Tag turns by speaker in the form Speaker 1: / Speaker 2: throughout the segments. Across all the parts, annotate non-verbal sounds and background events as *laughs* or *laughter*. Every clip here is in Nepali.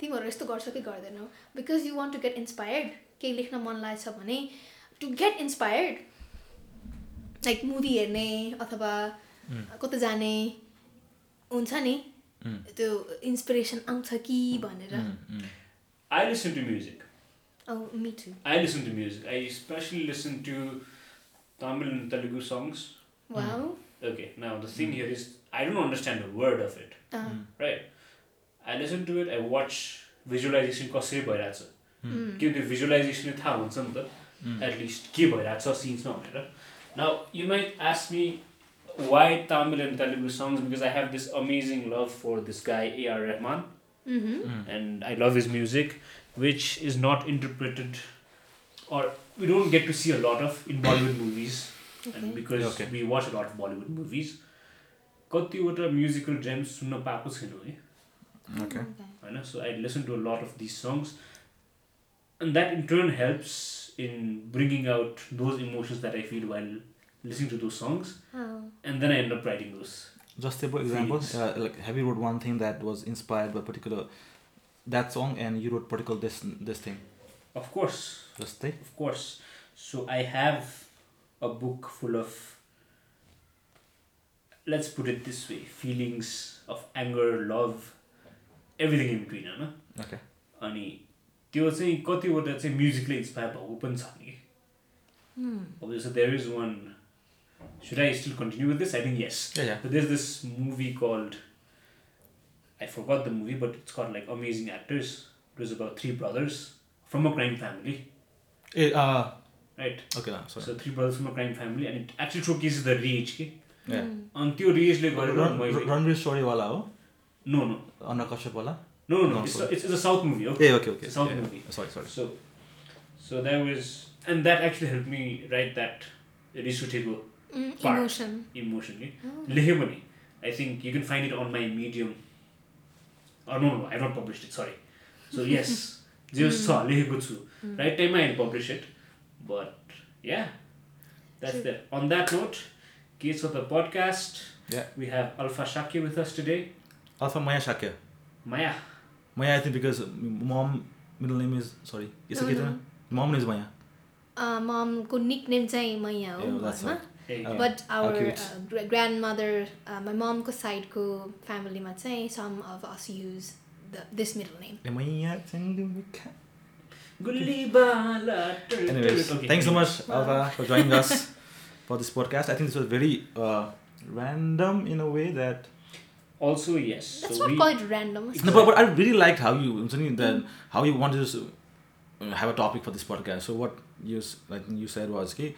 Speaker 1: तिमीहरू यस्तो गर्छौ कि गर्दैनौ because you want to get inspired केही लेख्न मन लागेको छ भने to get inspired like movie हेर्ने अथवा
Speaker 2: Mm.
Speaker 1: कता जाने हुन्छ नि
Speaker 2: Mm.
Speaker 1: त्यो इन्सपिरेसन आउँछ कि भनेर
Speaker 2: Hmm.
Speaker 1: Oh,
Speaker 3: I listen to music.
Speaker 1: Oh me too
Speaker 3: I listen to music. I especially listen to Tamil and Telugu songs.
Speaker 1: Wow
Speaker 3: Okay, now the thing here is I don't understand a word of it,
Speaker 2: Hmm.
Speaker 1: Ah,
Speaker 3: right? I listen to it, I watch visualization कसरी भइरहेछ
Speaker 1: hmm.
Speaker 3: किनकि भिजुलाइजेसनले थाहा हुन्छ नि त
Speaker 2: Hmm.
Speaker 3: एटलिस्ट के भइरहेछ सिन्समा भनेर now you might ask me why Tamil and Telugu songs because I have this amazing love for this guy A R Rahman
Speaker 1: Mm-hmm.
Speaker 2: Hmm.
Speaker 3: and I love his music, which is not interpreted or we don't get to see a lot of in Bollywood movies. And because
Speaker 2: Okay.
Speaker 3: we watch a lot of Bollywood movies, कतिवटा म्युजिकल ड्रेम सुन्न पाएको छैन है
Speaker 2: Okay.
Speaker 3: होइन so I listen to lot of this songs and that in turn helps in bringing out those emotions that I feel while listening to those songs
Speaker 1: Ah,
Speaker 3: and then I end up writing those
Speaker 2: Just for example,
Speaker 3: Feelings.
Speaker 2: uh, like have you wrote one thing that was inspired by particular that song, and you wrote particular this this thing.
Speaker 3: Of course
Speaker 2: Just
Speaker 3: Of course. So I have a book full of, let's put it this way, feelings of anger, love, everything in between, होइन
Speaker 2: Okay.
Speaker 3: अनि त्यो चाहिँ कतिवटा चाहिँ म्युजिकले इन्सपायर भएको पनि छ नि
Speaker 1: hmm.
Speaker 3: अब जस्तो there is one should I still continue with this I think yes
Speaker 2: Yeah, yeah.
Speaker 3: There is this movie called I forgot the movie but it's called like amazing actors it was about three brothers from a crime family
Speaker 2: Eh, uh,
Speaker 3: right
Speaker 2: okay, no, sorry.
Speaker 3: So three brothers from a crime family, and it actually showcases the rage. के
Speaker 2: yeah.
Speaker 3: अनि त्यो रेजले
Speaker 2: Ran-
Speaker 3: गरेर मैले
Speaker 2: Ran- Ranveer oh, Shori wala ho,
Speaker 3: no no
Speaker 2: Anna Kashyap wala.
Speaker 3: No no
Speaker 2: No,
Speaker 3: it's
Speaker 2: sorry.
Speaker 3: It's a south movie हो
Speaker 2: Yeah, okay, okay.
Speaker 3: South
Speaker 2: yeah.
Speaker 3: movie.
Speaker 2: Sorry, sorry.
Speaker 3: So so that was and that actually help me right that रिस उठेको Part.
Speaker 1: इमोसन
Speaker 3: इमोसन कि
Speaker 2: Hmm.
Speaker 3: लेखेँ भने I think you can find it on my Medium no no I not published it sorry
Speaker 2: *laughs*
Speaker 3: so yes जे
Speaker 2: Hmm.
Speaker 3: होस् छ लेखेको छु राइट टाइममा I publish it but yeah that's that on that note के छ त podcast
Speaker 2: Yeah.
Speaker 3: We have Alpha Shaki with us today.
Speaker 2: Also, Maya Shakya.
Speaker 3: Maya.
Speaker 2: Maya, I think because m- mom middle name is sorry. Is
Speaker 1: No,
Speaker 2: it
Speaker 1: no.
Speaker 2: Mom name is Maya.
Speaker 1: ममको निक नेम चाहिँ मैया हो
Speaker 2: Yeah, that's
Speaker 1: घरमा
Speaker 3: Hey.
Speaker 2: Oh.
Speaker 1: But
Speaker 2: How
Speaker 1: our
Speaker 2: cute.
Speaker 1: Grandmother my ममको साइडको फ्यामिलीमा चाहिँ some of us use the this middle name
Speaker 2: Eh, Maya Chandu-
Speaker 3: Gulli Bala.
Speaker 2: Anyways, thanks so much, Alva, for joining us for this podcast. I think this was very uh, random in a way that.
Speaker 3: Also, yes.
Speaker 1: That's
Speaker 3: so
Speaker 1: not
Speaker 3: we,
Speaker 1: quite random.
Speaker 2: No, but, but I really liked how you, Anthony, that how you wanted to s- have a topic for this podcast. So what you, s- I think you said was okay,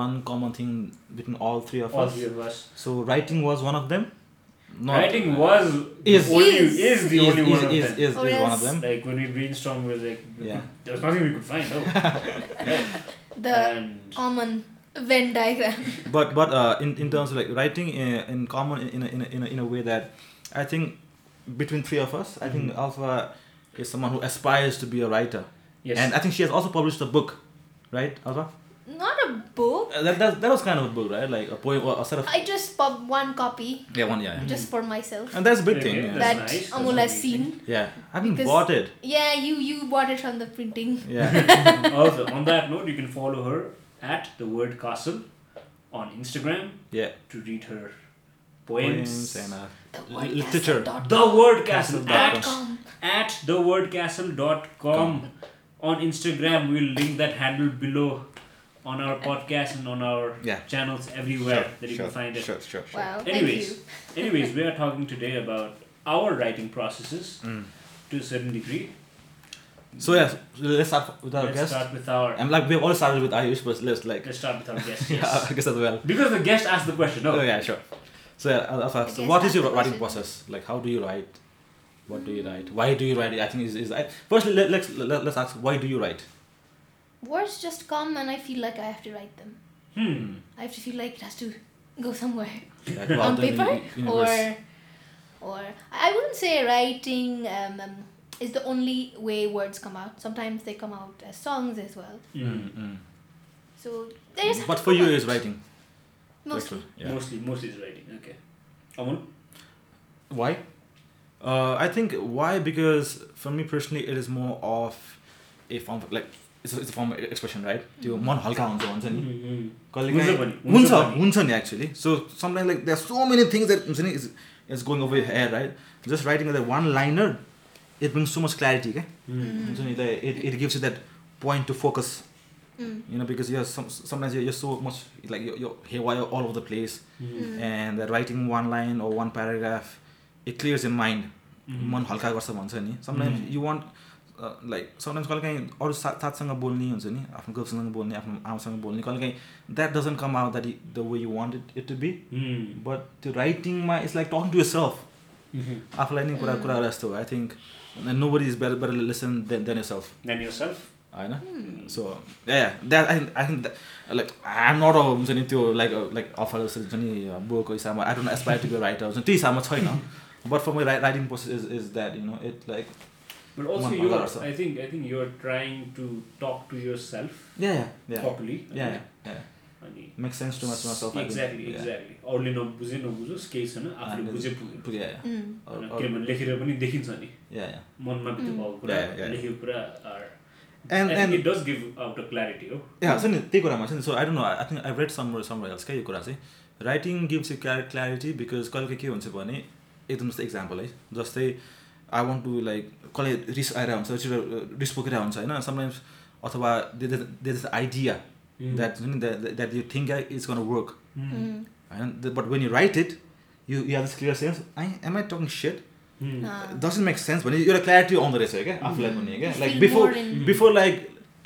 Speaker 2: one common thing between all three of
Speaker 3: all
Speaker 2: us.
Speaker 3: three of us.
Speaker 2: So writing was one of them. Not-
Speaker 3: Writing was
Speaker 2: Is.
Speaker 3: the only
Speaker 1: Is.
Speaker 3: is, the
Speaker 2: is,
Speaker 3: only
Speaker 2: is,
Speaker 3: one of
Speaker 2: is,
Speaker 3: them.
Speaker 2: is-
Speaker 1: Oh,
Speaker 2: is one
Speaker 1: yes.
Speaker 2: of them.
Speaker 3: Like when we brainstormed, we were like,
Speaker 2: Um, Yeah.
Speaker 3: there was nothing we could find. out.
Speaker 1: the
Speaker 3: and
Speaker 1: common Venn diagram. *laughs*
Speaker 2: but but uh, in, in terms of like writing in, in common in a, in, a, in, a, in a way that i think between three of us i think alpha is someone who aspires to be a writer
Speaker 3: yes,
Speaker 2: and i think she has also published a book right alpha
Speaker 1: Not a book.
Speaker 2: Uh, that, that, that was kind of a book right like a poem or a set of
Speaker 1: I just pop one copy
Speaker 2: yeah one yeah, yeah.
Speaker 1: just for myself.
Speaker 2: and that's a big
Speaker 3: Okay,
Speaker 2: thing yeah,
Speaker 3: that's-
Speaker 1: that
Speaker 3: nice, that's
Speaker 1: Amul has
Speaker 3: amazing.
Speaker 1: seen.
Speaker 2: yeah. i haven't
Speaker 1: Because-
Speaker 2: bought it
Speaker 1: Yeah, you you bought it from the printing.
Speaker 2: yeah *laughs*
Speaker 3: also on that note, you can follow her at the word castle on Instagram
Speaker 2: yeah
Speaker 3: to read her poems.
Speaker 2: poems and uh,
Speaker 1: The
Speaker 2: Li-
Speaker 1: word
Speaker 2: literature.
Speaker 1: castle dot
Speaker 3: the word castle
Speaker 2: Castle dot
Speaker 3: at at thewordcastle.com on Instagram. We'll link that handle below on our podcast and on our
Speaker 2: Yeah.
Speaker 3: channels everywhere that you can find it.
Speaker 2: sure sure
Speaker 1: com. Wow,
Speaker 3: Anyways,
Speaker 1: Oh, thank
Speaker 3: anyways, we are talking today about our writing processes to a certain degree.
Speaker 2: Mm. so yeah so let's start with our
Speaker 3: let's
Speaker 2: guest
Speaker 3: start with our
Speaker 2: i'm like we've all started with ayush but let's like
Speaker 3: let's start with
Speaker 2: *laughs*
Speaker 3: our guest.
Speaker 2: yeah
Speaker 3: Yes.
Speaker 2: i guess as well
Speaker 3: because the guest asked the question. No.
Speaker 2: Oh yeah, sure. So yeah, I'll, I'll ask, so
Speaker 1: Okay,
Speaker 2: what
Speaker 1: so
Speaker 2: is your
Speaker 1: that's the
Speaker 2: writing
Speaker 1: question.
Speaker 2: process? Like, how do you write? What do you write? Why do you write? it? I think is is I, firstly let, let's let, let's ask why do you
Speaker 1: *laughs*
Speaker 2: write?
Speaker 1: you. Words just come and I feel like I have to write them.
Speaker 3: Hmm.
Speaker 1: I have to feel like it has to go somewhere.
Speaker 2: Like, wow,
Speaker 1: on
Speaker 2: the u-
Speaker 1: paper
Speaker 2: u-
Speaker 1: or
Speaker 2: universe.
Speaker 1: or I wouldn't say writing um, um, is the only way words come out. Sometimes they come out as songs as well.
Speaker 3: Hmm.
Speaker 2: Mm,
Speaker 1: So there is.
Speaker 2: mm. But for you is writing.
Speaker 1: mostly.
Speaker 2: Actually, Yeah.
Speaker 3: Mostly, mostly is writing. Okay. Amul.
Speaker 2: Why? Uh, Uh, I think why because for me personally it is more of a form of, like it's a, it's a form of expression right
Speaker 1: Mm-hmm.
Speaker 2: त्यो मन हल्का हुन्छ
Speaker 3: Hmm,
Speaker 2: भन्छ नि
Speaker 3: हुन्छ
Speaker 2: कहिलेकाहीँ
Speaker 3: पनि,
Speaker 2: हुन्छ
Speaker 3: हुन्छ पनि।
Speaker 2: हुन्छ नि actually so sometime like there so many things that हुन्छ नि is is going over here right just writing that one liner it bring so much clarity क्या
Speaker 3: hmm.
Speaker 2: हुन्छ नि like it it gives that point to focus
Speaker 1: Mm.
Speaker 2: you know because you're some, sometimes you're, you're so much like you're, you're haywire all over the place and that writing one line or one paragraph it clears your mind
Speaker 3: Hmm.
Speaker 2: मन
Speaker 3: Mm-hmm.
Speaker 2: हल्का गर्छ भन्छ नि sometimes
Speaker 3: Mm.
Speaker 2: You want like sometimes uh, कहिले काहीँ अरू साथ साथसँग बोल्ने हुन्छ नि आफ्नो गर्लसँग बोल्ने आफ्नो आमासँग बोल्ने कहिले काहीँ that doesn't come out that the way you want it it to be
Speaker 3: Hmm.
Speaker 2: But त्यो राइटिङमा it's like talk to yourself आफूलाई नै कुरा कुरा जस्तो I think nobody is better better lesson than than yourself
Speaker 3: Then yourself.
Speaker 2: होइन
Speaker 1: Hmm.
Speaker 2: So a that I I think like I'm not a हुन्छ नि त्यो लाइक लाइक अफर जस्तो हुन्छ नि uh, बुकको हिसाबमा I don't aspire to writer हुन्छ नि, त्यो हिसाबमा छैन but for my wri writing process is is that you know it like
Speaker 3: But also,
Speaker 2: One
Speaker 3: you are,
Speaker 2: also.
Speaker 3: I think, I think you are trying to talk to yourself
Speaker 2: yeah yeah
Speaker 3: properly.
Speaker 2: Yeah yeah
Speaker 3: अनि-
Speaker 2: make sense to much much
Speaker 3: Exactly, exactly. अरूले नबुझे नबुझोस् केही छैन
Speaker 2: Ah,
Speaker 3: आफूले बुझे पुग्यो
Speaker 2: पुग्यो
Speaker 1: Mm.
Speaker 3: होइन, किनभने लेखेर पनि देखिन्छ नि
Speaker 2: या या
Speaker 3: मनमा भित्र भएको कुरा
Speaker 2: Yeah, yeah, yeah.
Speaker 3: लेखेको कुरा are-
Speaker 2: And-
Speaker 3: I think
Speaker 2: and-
Speaker 3: it does give out a clarity oh. हो
Speaker 2: या छ नि त्यही कुरामा छ नि so I don't know I think I read summer summer hills क्या यो कुरा चाहिँ writing gives you clar clarity because कहिले के हुन्छ भने एकदम जस्तो इक्जाम्पल है जस्तै आई वान्ट टु लाइक कसले रिस आएर हुन्छ छिटो रिस बोकेर हुन्छ होइन समटाइम्स अथवा they this idea
Speaker 3: Hmm.
Speaker 2: That हुन्छ नि that you think is gonna work
Speaker 1: Mm.
Speaker 2: होइन but when you write it you you have this clear sense I am I talking set
Speaker 3: Hmm.
Speaker 1: Ah.
Speaker 2: Doesn't make sense भने एउटा क्ल्यारिटी आउँदो रहेछ क्या आफूलाई
Speaker 1: Mm.
Speaker 2: पनि
Speaker 1: You
Speaker 2: क्या like
Speaker 1: feel
Speaker 2: before
Speaker 1: more in-
Speaker 2: before like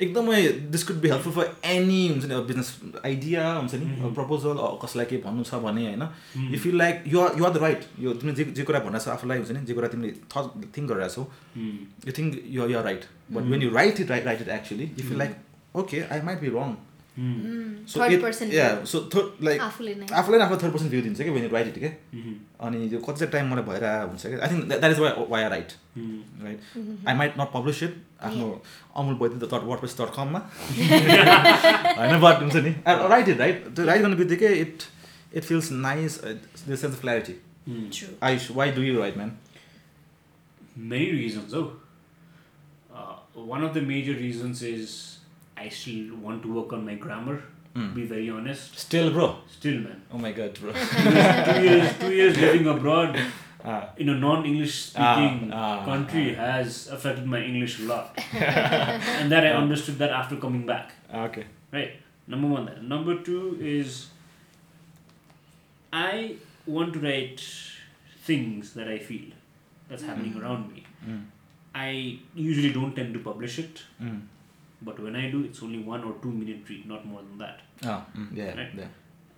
Speaker 2: एकदमै this could be helpful for any हुन्छ नि बिजनेस आइडिया हुन्छ नि
Speaker 3: Mhm.
Speaker 2: प्रपोजल कसलाई के भन्नु छ भने होइन
Speaker 3: Mhm.
Speaker 2: You feel like you are you are the right यो तिमीले जे जे कुरा भनिरहेको छौ आफूलाई हुन्छ नि जे कुरा तिमीले थट थिङ्क गरिरहेको छौ
Speaker 3: Hmm.
Speaker 2: You think you you are right but
Speaker 3: Mhm.
Speaker 2: When you write it right right it actually you feel
Speaker 3: Mhm.
Speaker 2: Like okay I might be wrong
Speaker 3: Hmm.
Speaker 1: Mm.
Speaker 2: So
Speaker 1: Third
Speaker 2: इट
Speaker 1: person. Ah.
Speaker 2: Yeah so third like
Speaker 1: आफूले नै
Speaker 2: आफूलाई नै आफूलाई थर्ड पर्सन भ्यू दिन्छ क्या वेन यु राइट इट क्या
Speaker 3: Hmm.
Speaker 2: अनि यो कति टाइम मलाई भएर हुन्छ क्या I think that is why why are right
Speaker 3: Hmm.
Speaker 2: Right
Speaker 1: Mm-hmm.
Speaker 2: I might not publish it आफ्नो अमुल बैद्य डट वर्ड पेस डट *laughs* कममा होइन बट हुन्छ नि राइट इट राइट त्यो राइट गर्ने बित्तिकै it it feels nice the sense of clarity
Speaker 3: Hmm.
Speaker 1: True.
Speaker 2: I why do you write man
Speaker 3: many reasons though. Uh, one of the major reasons is I still want to work on my grammar.
Speaker 2: Hmm.
Speaker 3: Be very honest.
Speaker 2: Still bro
Speaker 3: Still,
Speaker 2: *laughs*
Speaker 3: man.
Speaker 2: Oh my God
Speaker 3: *laughs*
Speaker 2: bro
Speaker 3: two years, two years living abroad in a non-English speaking
Speaker 2: Ah, ah,
Speaker 3: country has affected my English a lot, and that I understood that after coming back.
Speaker 2: Okay
Speaker 3: Right. Number one. That. Number two is I want to write things that I feel that's happening around me.
Speaker 2: ah. Hmm,
Speaker 3: I usually don't tend to publish it, but when I do, it's only one or two minute read, not more than that.
Speaker 2: Ah, hmm.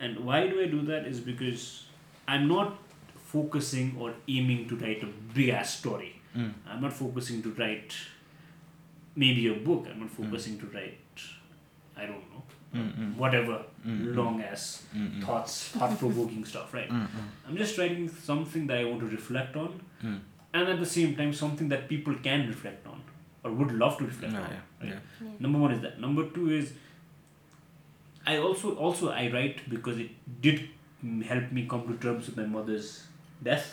Speaker 3: And why do I do that is because I'm not focusing or aiming to write a big ass story.
Speaker 2: Mm.
Speaker 3: I'm not focusing to write maybe a book. I'm not focusing to write, I don't know,
Speaker 2: hmm,
Speaker 3: whatever
Speaker 2: Mm-hmm.
Speaker 3: long ass thoughts, thought provoking *laughs* stuff, right?
Speaker 2: Hmm,
Speaker 3: I'm just writing something that I want to reflect on
Speaker 2: hmm.
Speaker 3: and at the same time something that people can reflect on or would love to
Speaker 2: Ah,
Speaker 3: reflect on. right? Number one is that. Number two is I also also I write because it did mm, help me come to terms with my mother's death.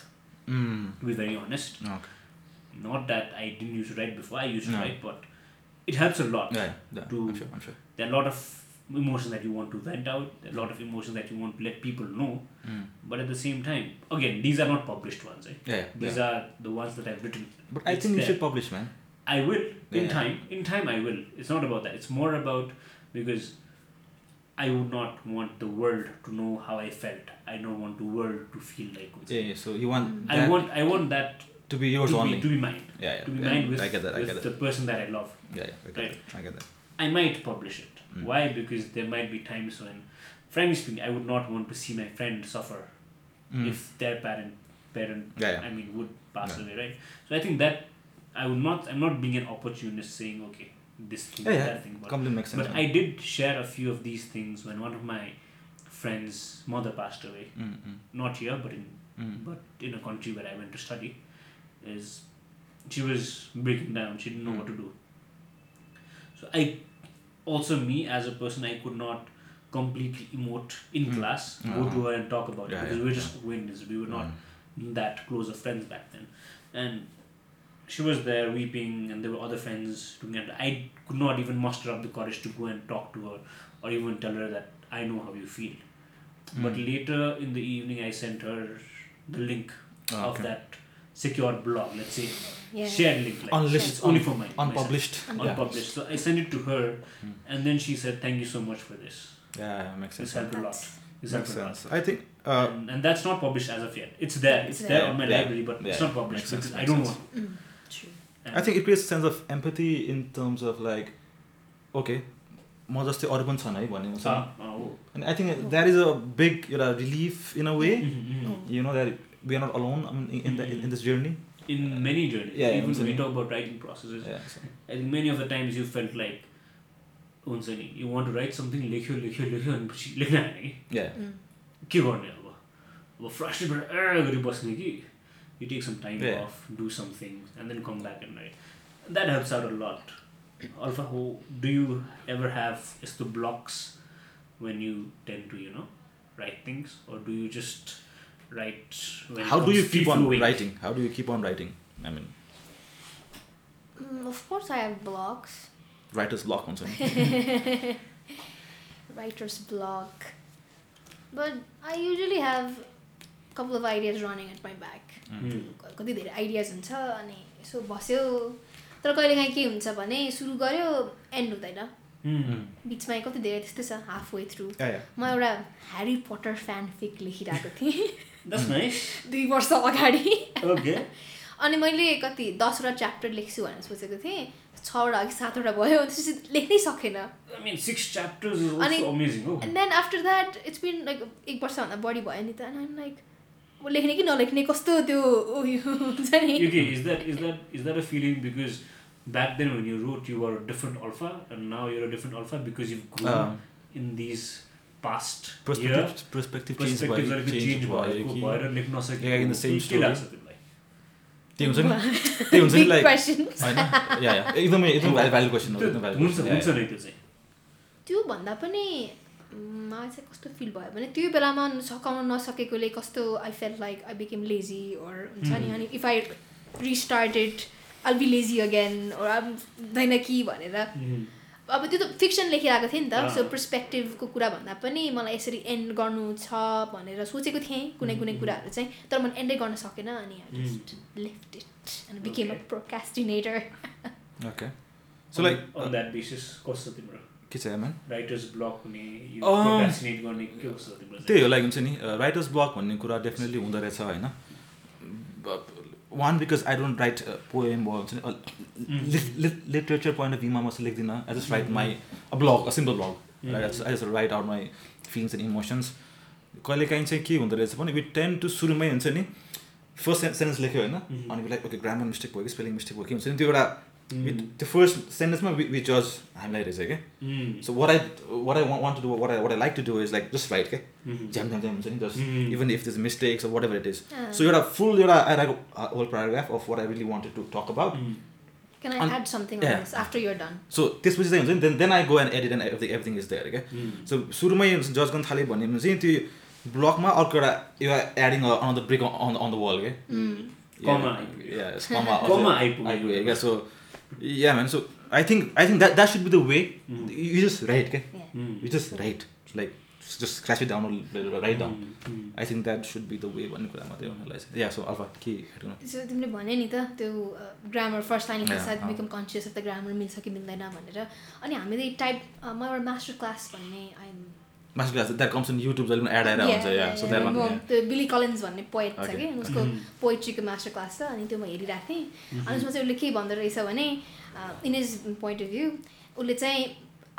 Speaker 2: Hmm.
Speaker 3: To be very honest, not that I didn't used to write before. I used to
Speaker 2: No.
Speaker 3: write, but it helps a lot. There are a lot of emotions that you want to vent out. There are a lot of emotions that you want to let people know.
Speaker 2: Hmm.
Speaker 3: But at the same time, again, these are not published ones. Right? These are the ones that I've written.
Speaker 2: But I
Speaker 3: It's
Speaker 2: think you
Speaker 3: there.
Speaker 2: Should publish man
Speaker 3: I will in
Speaker 2: Yeah.
Speaker 3: time. In time, I will. It's not about that. It's more about because I would not want the world to know how I felt. I don't want the world to feel like. it's-
Speaker 2: a so you want
Speaker 3: I want. I want that
Speaker 2: to be
Speaker 3: to
Speaker 2: yours
Speaker 3: be,
Speaker 2: only
Speaker 3: to be mine.
Speaker 2: Yeah, yeah,
Speaker 3: To be
Speaker 2: yeah.
Speaker 3: mine with,
Speaker 2: I get that, I
Speaker 3: with
Speaker 2: get that.
Speaker 3: the person that I love.
Speaker 2: Yeah, yeah, I get
Speaker 3: Right.
Speaker 2: that. I get that.
Speaker 3: I might publish it.
Speaker 2: Mm.
Speaker 3: Why? Because there might be times when, frankly speaking, I would not want to see my friend suffer
Speaker 2: Mm.
Speaker 3: if their parent parent
Speaker 2: Yeah, yeah.
Speaker 3: I mean would pass
Speaker 2: Yeah.
Speaker 3: away, right? So I think that I would not. I'm not being an opportunist, saying okay, this thing,
Speaker 2: Yeah, yeah.
Speaker 3: that thing, but
Speaker 2: Completely makes sense.
Speaker 3: but I did share a few of these things when one of my friends' mother passed away.
Speaker 2: Mm, mm,
Speaker 3: Not here, but in
Speaker 2: mm.
Speaker 3: but in a country where I went to study, is she was breaking down. She didn't know what to do. So I, also me as a person, I could not completely emote in class, go
Speaker 2: Uh-huh.
Speaker 3: to her and talk about
Speaker 2: Yeah,
Speaker 3: it because
Speaker 2: yeah, Mm.
Speaker 3: we were just acquaintances. We were not that close of friends back then. and she was there weeping, and there were other friends doing it. I could not even muster up the courage to go and talk to her, or even tell her that I know how you feel. But
Speaker 2: Mm.
Speaker 3: later in the evening, I sent her the link
Speaker 2: Ah,
Speaker 3: of
Speaker 2: okay.
Speaker 3: that secure blog. Let's say
Speaker 1: Yeah.
Speaker 3: shared link. Like,
Speaker 2: Unlisted,
Speaker 3: it's only
Speaker 2: un-
Speaker 3: for mine. myself
Speaker 2: Unpublished. Yeah.
Speaker 3: unpublished. So I sent it to her,
Speaker 2: Hmm.
Speaker 3: and then she said, "Thank you so much for this.
Speaker 2: Yeah, yeah, makes
Speaker 3: This
Speaker 2: sense.
Speaker 3: helped a lot.
Speaker 1: That's-
Speaker 2: Makes
Speaker 3: This helped a lot."
Speaker 2: sense. I think. Uh,
Speaker 3: and, and that's not published as of yet. It's there. It's,
Speaker 1: It's
Speaker 3: there
Speaker 1: there.
Speaker 3: on my
Speaker 2: Yeah.
Speaker 3: library, but it's
Speaker 2: Yeah.
Speaker 3: not published
Speaker 2: Makes sense,
Speaker 3: because I
Speaker 2: makes
Speaker 3: don't
Speaker 2: sense.
Speaker 3: want.
Speaker 1: Mm, true.
Speaker 3: And
Speaker 2: I think it creates a sense of empathy in terms of like, okay, म जस्तै अरू पनि छन् है भन्ने हुन्छ
Speaker 3: Ah, oh.
Speaker 2: And I think that is a big you know, relief in a way.
Speaker 3: Mhm, mhm.
Speaker 1: Mm.
Speaker 2: You know that we are not alone I mean, in, in, the, in,
Speaker 3: Mm-hmm.
Speaker 2: in this journey.
Speaker 3: In many journeys,
Speaker 2: Yeah, yeah,
Speaker 3: even when we
Speaker 2: absolutely.
Speaker 3: talk about writing processes,
Speaker 2: Yeah, so-
Speaker 3: I think many of the times you felt like, "Unsani, you want to write something, लिख्यो लिख्यो लिख्यो अनि पछि लेख्न आएन कि
Speaker 2: yeah.
Speaker 1: Mm.
Speaker 3: के गर्ने अब अब फ्रस्ट्रेटेड ए गरी बस्ने कि you take some time
Speaker 2: Yeah.
Speaker 3: Of do something and then come back and write that helps out a lot Alpha हो डु यु एभर ह्याभ यस्तो blocks when you tend to you know write things or do you just write
Speaker 2: How do you keep on writing? How do you keep on writing? I mean,
Speaker 1: Mm, of course, I have blocks.
Speaker 2: writer's block on something.
Speaker 1: *laughs* writer's block. But I usually have a couple of ideas running at my back.
Speaker 3: Hmm.
Speaker 1: क- कति धेरै आइडियाज हुन्छ अनि यसो बस्यो तर कहिलेकाहीँ के हुन्छ भने सुरु गर्यो एन्ड हुँदैन
Speaker 3: Hmm.
Speaker 1: बिचमा कति धेरै त्यस्तै छ half way through
Speaker 2: *laughs* yeah, yeah.
Speaker 1: म एउटा ह्यारी पोटर फ्यानफिक लेखिरहेको थिएँ *laughs*
Speaker 3: द्याट्स
Speaker 2: Hmm.
Speaker 3: नाइस
Speaker 1: दुई वर्ष अगाडि
Speaker 3: ओके
Speaker 1: अनि मैले कति दसवटा च्याप्टर लेख्छु भनेर सोचेको थिएँ छवटा अघि सातवटा भयो त्यसपछि लेख्नै सकेन
Speaker 3: I mean six chapters is
Speaker 1: अनि-
Speaker 3: अल्सो अमेजिङ हो
Speaker 1: and then after that it's been like एक वर्षभन्दा बढी भयो नि त एन्ड आइम लाइक म लेख्ने कि नलेख्ने कस्तो त्यो उयो हुन्छ नि
Speaker 3: okay is that is that is that a feeling because back then when you wrote you were a different alpha and now you're a different alpha because you've grown
Speaker 2: Um,
Speaker 3: in these past
Speaker 2: Perspective,
Speaker 3: year
Speaker 2: perspective change
Speaker 3: perspectives
Speaker 2: भयो,
Speaker 3: are like
Speaker 2: change
Speaker 3: change
Speaker 2: भयो
Speaker 3: भएको
Speaker 2: कि-
Speaker 3: भएर लेख्न
Speaker 2: Yeah, in the same
Speaker 3: सकेको के
Speaker 2: story.
Speaker 3: लाग्छ तिमीलाई
Speaker 2: त्यही हुन्छ नि
Speaker 1: *laughs*
Speaker 2: त्यही हुन्छ नि
Speaker 1: Big
Speaker 2: लाइक
Speaker 1: question.
Speaker 2: *laughs* होइन या या एकदमै एकदम भ्यालु क्वेसन हो एकदम
Speaker 3: त्यो
Speaker 2: valid
Speaker 3: हुन्छ
Speaker 2: question,
Speaker 3: हुन्छ
Speaker 2: yeah,
Speaker 3: नै त्यो चाहिँ
Speaker 1: त्यो भन्दा पनि मलाई चाहिँ कस्तो फिल भयो भने त्यो बेलामा सकाउन नसकेकोले कस्तो I feel like I became lazy or हुन्छ नि
Speaker 3: Hmm.
Speaker 1: अनि if I restarted I be lazy again or हुँदैन कि भनेर
Speaker 3: Mhm.
Speaker 1: अब त्यो त फिक्सन लेखिरहेको थिएँ नि त
Speaker 3: अँ।
Speaker 1: सो पर्सपेक्टिभको कुरा भन्दा पनि मलाई यसरी एन्ड गर्नु छ भनेर सोचेको थिएँ कुनै कुनै कुराहरू चाहिँ तर मैले एन्डै गर्न सकेन अनि I
Speaker 3: Mm.
Speaker 1: Just left it and became a
Speaker 3: Okay.
Speaker 1: Procrastinator
Speaker 2: yeah. Okay. So like
Speaker 3: On- on that basis कस्तो तिम्रो
Speaker 2: के छ man?
Speaker 3: राइटर्स ब्लक हुने यो
Speaker 2: Um,
Speaker 3: procrastinate गर्ने के कस्तो तिम्रो चाहिँ?
Speaker 2: त्यही हो लाइक हुन्छ नि राइटर्स ब्लक भन्ने कुरा डेफिनेटली हुँदो रहेछ होइन one because I don't write poem भयो uh, हुन्छ
Speaker 3: Mm.
Speaker 2: नि uh, लिटरेचर पोइन्ट अफ भ्यूमा म चाहिँ लेख्दिनँ I just write
Speaker 3: Mm-hmm.
Speaker 2: My a blog a simple blog I just write out my feelings and emotions कहिलेकाहीँ चाहिँ के हुँदो रहेछ भने विथ टेन टु सुरुमै हुन्छ नि फर्स्ट सेन्टेन्स लेख्यो होइन
Speaker 3: Mhm.
Speaker 2: अनि लाइक ओके ग्रामर मिस्टेक भयो कि स्पेलिङ मिस्टेक भयो कि हुन्छ नि त्यो एउटा
Speaker 3: Mhm.
Speaker 2: with- त्यो फर्स्ट सेन्टेन्समा वि वि जज हामीलाई रहेछ क्या
Speaker 3: Mhm.
Speaker 2: So what I what I want to do what I what I like to do is like just right क्या
Speaker 3: Mhm.
Speaker 2: झ्याम झ्याम झ्याम हुन्छ नि
Speaker 3: Mm.
Speaker 2: Just even if this mistakes whatever it is
Speaker 1: Uh.
Speaker 2: So एउटा फुल एउटा आइरहेको whole paragraph of what I really wanted to talk about
Speaker 3: Mhm.
Speaker 1: Can I
Speaker 2: And-
Speaker 1: add something
Speaker 2: Yeah.
Speaker 1: After your done
Speaker 2: so त्यसपछि चाहिँ हुन्छ नि then then I go and edit and everything everything is there क्या
Speaker 3: Mhm.
Speaker 2: सो सुरुमै जज गर्न थाल्यो भने चाहिँ त्यो ब्लकमा अर्को एउटा एउटा adding on the break on on the wall क्या
Speaker 1: Mm.
Speaker 3: Comma.
Speaker 1: *laughs*
Speaker 3: Comma आइपुग्यो।
Speaker 2: आइपुग्यो क्या सो या भन so I think I think that that should be the way
Speaker 3: Mm.
Speaker 2: You just right क्या
Speaker 1: Yeah.
Speaker 3: Mhm.
Speaker 2: You just write like just scratch down write down
Speaker 3: Mhm. Mhm.
Speaker 2: I think that should be the way भन्ने कुरा मात्रै हो मलाई चाहिँ या सो अल्फा के एड गर्नु
Speaker 1: सो तिमीले भन्यो नि त त्यो ग्रामर फर्स्ट लाइन
Speaker 2: Yeah,
Speaker 1: सायद
Speaker 2: अँ।
Speaker 1: Become conscious of the grammar मिल्छ कि मिल्दैन भनेर अनि हामीले टाइप म एउटा मास्टर क्लास भन्ने I'm
Speaker 2: master class that comes in YouTube जहिले पनि एड आएर हुन्छ या सो द्याट
Speaker 1: म त्यो बिली कलेन्स भन्ने पोएट छ
Speaker 2: Okay.
Speaker 1: कि उसको
Speaker 2: Mm-hmm.
Speaker 3: Mm.
Speaker 1: पोएट्रीको मास्टर क्लास छ अनि त्यो म हेरिरहेको थिएँ अनि उसमा चाहिँ उसले के भन्दो रहेछ भने in his point of view उसले चाहिँ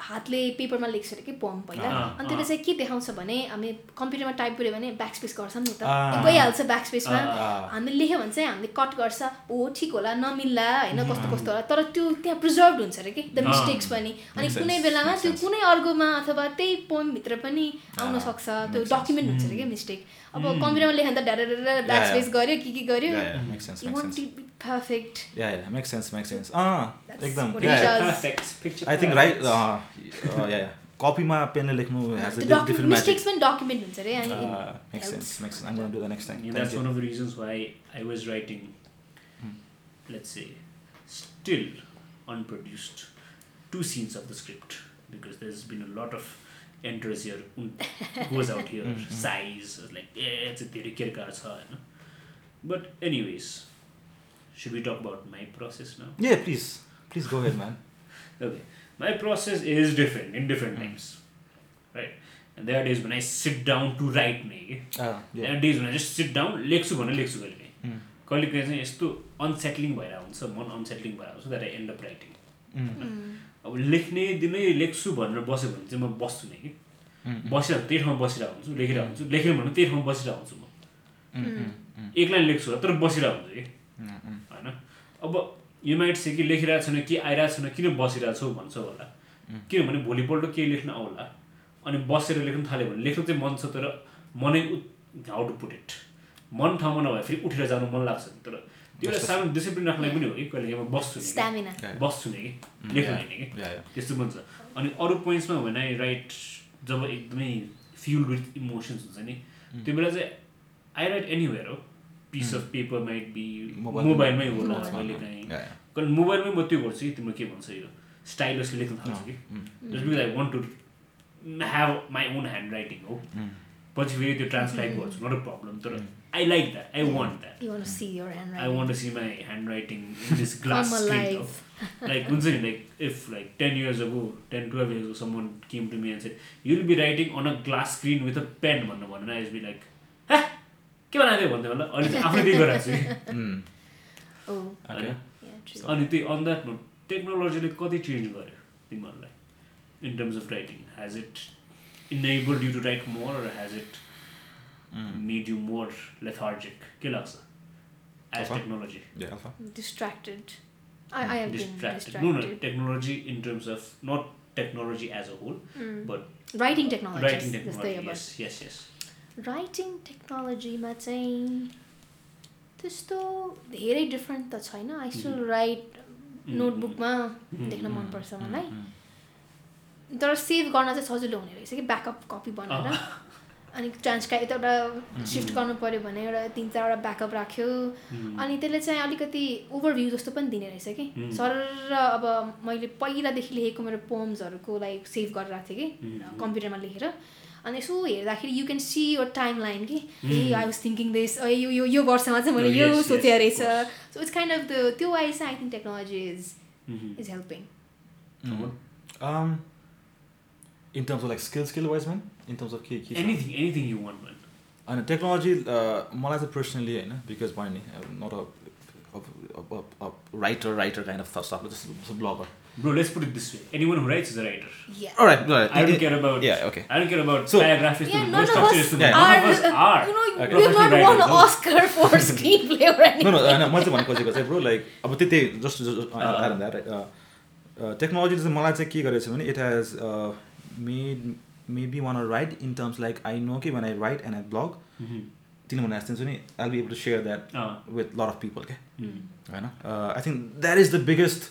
Speaker 1: हातले पेपरमा लेख्छ अरे कि पोम पहिला
Speaker 3: Ah,
Speaker 1: अनि त्यसले
Speaker 3: ah.
Speaker 1: चाहिँ के देखाउँछ भने हामी कम्प्युटरमा टाइप गऱ्यो भने ब्याक स्पेस गर्छ नि त
Speaker 2: Ah.
Speaker 1: गइहाल्छ ब्याक स्पेसमा
Speaker 2: Ah.
Speaker 1: हामीले लेख्यो भने चाहिँ हामीले कट गर्छ हो ठिक होला नमिल्ला होइन कस्तो
Speaker 2: Mm.
Speaker 1: कस्तो होला तर त्यो त्यहाँ प्रिजर्भ हुन्छ अरे कि द
Speaker 3: Ah.
Speaker 1: मिस्टेक्स पनि अनि
Speaker 2: Makes
Speaker 1: कुनै
Speaker 2: sense,
Speaker 1: बेलामा
Speaker 2: makes
Speaker 1: त्यो
Speaker 2: sense.
Speaker 1: कुनै अर्कोमा अथवा त्यही पोइमभित्र पनि आउन
Speaker 2: Ah,
Speaker 1: सक्छ
Speaker 2: makes
Speaker 1: त्यो
Speaker 2: sense.
Speaker 1: डकुमेन्ट हुन्छ अरे कि मिस्टेक अब कम्प्युटरमा लेख्दा त डाँडा ब्याक
Speaker 2: Yeah,
Speaker 1: स्पेस
Speaker 2: yeah.
Speaker 1: गऱ्यो के के गऱ्यो
Speaker 2: make sense
Speaker 1: you
Speaker 2: make
Speaker 1: want
Speaker 2: sense
Speaker 1: to be perfect
Speaker 2: या या मेक सेन्स मेक सेन्स अँ
Speaker 1: That's
Speaker 2: Ah, एकदम
Speaker 1: what it does.
Speaker 3: Perfect. Picture
Speaker 2: I think
Speaker 3: perfect.
Speaker 2: Right या या कपीमा पेनले लेख्नु has a different
Speaker 1: document mistakes
Speaker 2: magic
Speaker 1: पनि डकुमेन्ट हुन्छ अरे अनि
Speaker 2: Uh, make sense make sense I do the next
Speaker 3: And
Speaker 2: time
Speaker 3: that's one of the reasons why I was writing
Speaker 2: Hmm.
Speaker 3: let's say, still unproduced two scenes of the script because there's been a lot of enters here,
Speaker 1: *laughs*
Speaker 3: un- goes out here,
Speaker 2: Mm, mm.
Speaker 3: sighs, like, eh, it's a theory, होइन? But, anyways, should we talk about my process now?
Speaker 2: Yeah, please. Please go ahead, man.
Speaker 3: Okay, my process is different in different
Speaker 2: Mm.
Speaker 3: times, right? And there are days when I sit down to write me,
Speaker 2: Uh, yeah.
Speaker 3: And days भने जस्ट सिट डाउन लेख्छु भने लेख्छु कहिले
Speaker 2: Mm.
Speaker 3: कहिले कहिले चाहिँ यस्तो अनसेटलिङ भएर हुन्छ मन अनसेटलिङ भएर हुन्छ that I end up writing
Speaker 2: Mm.
Speaker 3: अब लेख्ने दिनै लेख्छु भनेर बस्यो भने चाहिँ म बस्छु नै कि
Speaker 2: Mm. Mm.
Speaker 3: बसिरहेको त्यही ठाउँमा बसिरहेको हुन्छु लेखिरहेको हुन्छु लेखेँ भने त्यही ठाउँमा बसिरहेको हुन्छु म
Speaker 2: Mm. Mm.
Speaker 3: एक लाइन लेख्छु होला, तर बसिरहेको हुन्छु कि
Speaker 2: Mm. Mm.
Speaker 3: होइन अब यो माइट से कि लेखिरहेको छैन कि आइरहेको छैन किन बसिरहेको छौ भन्छौ होला
Speaker 2: Mm.
Speaker 3: किनभने भोलिपल्ट केही लेख्न आउला अनि बसेर लेख्न थाल्यो भने लेख्न चाहिँ मन छ तर मनै हाउ टु पुट इट मन ठाउँमा नभए फेरि उठेर जानु मन लाग्छ नि तर त्यो एउटा सानो डिसिप्लिन राख्नलाई पनि हो कि कहिले म बस्छु नि कि,
Speaker 1: स्टामिना
Speaker 2: Yeah.
Speaker 3: बस्छु नि कि
Speaker 2: Mm,
Speaker 3: लेख्नु
Speaker 2: yeah.
Speaker 3: होइन कि
Speaker 2: Yeah, yeah.
Speaker 3: त्यस्तो पनि छ अनि अरू पोइन्ट्समा भने आई राइट जब एकदमै फ्युल विथ इमोसन्स हुन्छ नि
Speaker 2: Mm.
Speaker 3: त्यो बेला चाहिँ आई राइट एनिवेयर हो piece of paper might be
Speaker 2: Mobile-
Speaker 3: मोबाइलमै होला
Speaker 1: Mobile.
Speaker 3: मैले काहीँ
Speaker 2: Yeah, yeah.
Speaker 3: कारण मोबाइलमै म त्यो गर्छु कि तिम्रो के भन्छ यो स्टाइलसले लेख्न थाल्छु कि
Speaker 2: No. Mm.
Speaker 3: Just because I want to have my own hand writing हो
Speaker 2: Mm.
Speaker 3: पछि फेरि त्यो ट्रान्सक्राइब गर्छु नट अ प्रब्लम तर I like that I want that
Speaker 1: you one see your hand
Speaker 3: I want to see my hand writing in this glass
Speaker 1: alive.
Speaker 3: Like हुन्छ नि like if like ten years ago ten twelve years सम्म came to me and said you will be writing on a glass screen with a pen भन्नु भन्नु न बी लाइक हे के बनाएको भन्दै होला अहिले चाहिँ आफूले त्यही गराएको छु
Speaker 2: *laughs*
Speaker 3: कि
Speaker 2: Mm.
Speaker 1: Oh,
Speaker 2: Okay.
Speaker 1: yeah, true.
Speaker 3: अनि त्यही अन द्याट नोट टेक्नोलोजीले कति चेन्ज गर्यो तिमीहरूलाई in terms of writing has it enable you to write more has it
Speaker 2: Mm.
Speaker 3: Made you more lethargic के लाग्छ as
Speaker 2: Alpha?
Speaker 3: Technology
Speaker 2: Yeah, Alpha.
Speaker 1: Distracted. I, I have been
Speaker 3: distracted no no
Speaker 1: distracted.
Speaker 3: Technology in terms of not technology as a whole
Speaker 1: Mm.
Speaker 3: but
Speaker 1: writing technology.
Speaker 3: Writing
Speaker 1: that's the
Speaker 3: technology
Speaker 1: about.
Speaker 3: Yes yes yes
Speaker 1: writing टेक्नोलोजीमा चाहिँ त्यस्तो धेरै डिफ्रेन्ट त छैन आई स्टिल राइट नोटबुकमा देख्न
Speaker 2: Mm.
Speaker 1: मनपर्छ
Speaker 2: Mm.
Speaker 1: मलाई
Speaker 2: Mm.
Speaker 1: तर सेभ गर्न चाहिँ सजिलो हुने रहेछ कि ब्याकअप कपी बनाएर अनि ट्रान्सक्राइब यताबाट सिफ्ट गर्नु पऱ्यो भने एउटा तिन चारवटा ब्याकअप राख्यो अनि त्यसले चाहिँ अलिकति ओभरभ्यू जस्तो पनि दिने रहेछ कि
Speaker 3: Mm.
Speaker 1: सर र अब मैले पहिलादेखि लेखेको मेरो पोम्सहरूको लाइक सेभ गरेर राख्थेँ कि कम्प्युटरमा लेखेर अनि यसो हेर्दाखेरि यु क्यान सी यो टाइम लाइन कि a I was thinking this a यो यो यो वर्षमा *laughs* चाहिँ मैले
Speaker 3: Oh,
Speaker 1: यो
Speaker 3: yes, yes,
Speaker 1: सोचेको
Speaker 3: of
Speaker 1: रहेछ
Speaker 3: course.
Speaker 1: So it's kind of the त्यो वाइज चाहिँ I think technology is
Speaker 2: Mm-hmm.
Speaker 1: Is helping
Speaker 2: Mm. Um, in terms of like skill, skill wise, man. In terms of key, key. stuff.
Speaker 3: Anything anything you want भन
Speaker 2: अनि टेक्नोलोजी मलाई चाहिँ पर्सनली होइन बिकज भयो नि not a writer writer kind of stuff जस्तो blogger
Speaker 3: bro let's put it this way anyone who writes is a writer I don't
Speaker 2: right
Speaker 3: care about
Speaker 2: Uh, Yeah, okay.
Speaker 3: I don't care about
Speaker 2: So-
Speaker 3: paragraph is
Speaker 1: Yeah,
Speaker 3: the
Speaker 1: none of
Speaker 3: structure
Speaker 1: us
Speaker 3: is the
Speaker 2: Yeah.
Speaker 1: *laughs*
Speaker 3: Non of us
Speaker 1: are,
Speaker 3: are
Speaker 1: you know,
Speaker 2: Okay.
Speaker 1: you have not
Speaker 3: Professional
Speaker 1: won
Speaker 3: writers, no.
Speaker 1: Oscar for screenplay writing.
Speaker 2: No no होइन मैले चाहिँ भन्नु खोजेको चाहिँ ब्रो लाइक अब त्यही त्यही जस्ट आएर टेक्नोलोजीले चाहिँ मलाई चाहिँ के गरेको छ भने uh, it has made maybe one are write in terms like I know कि one I write and I blog
Speaker 1: Mm-hmm.
Speaker 2: किनभने जस्तो हुन्छ नि I be able to share that
Speaker 1: Ah.
Speaker 2: With lot of people के
Speaker 1: Mm.
Speaker 3: Mm.
Speaker 2: होइन I think that is the biggest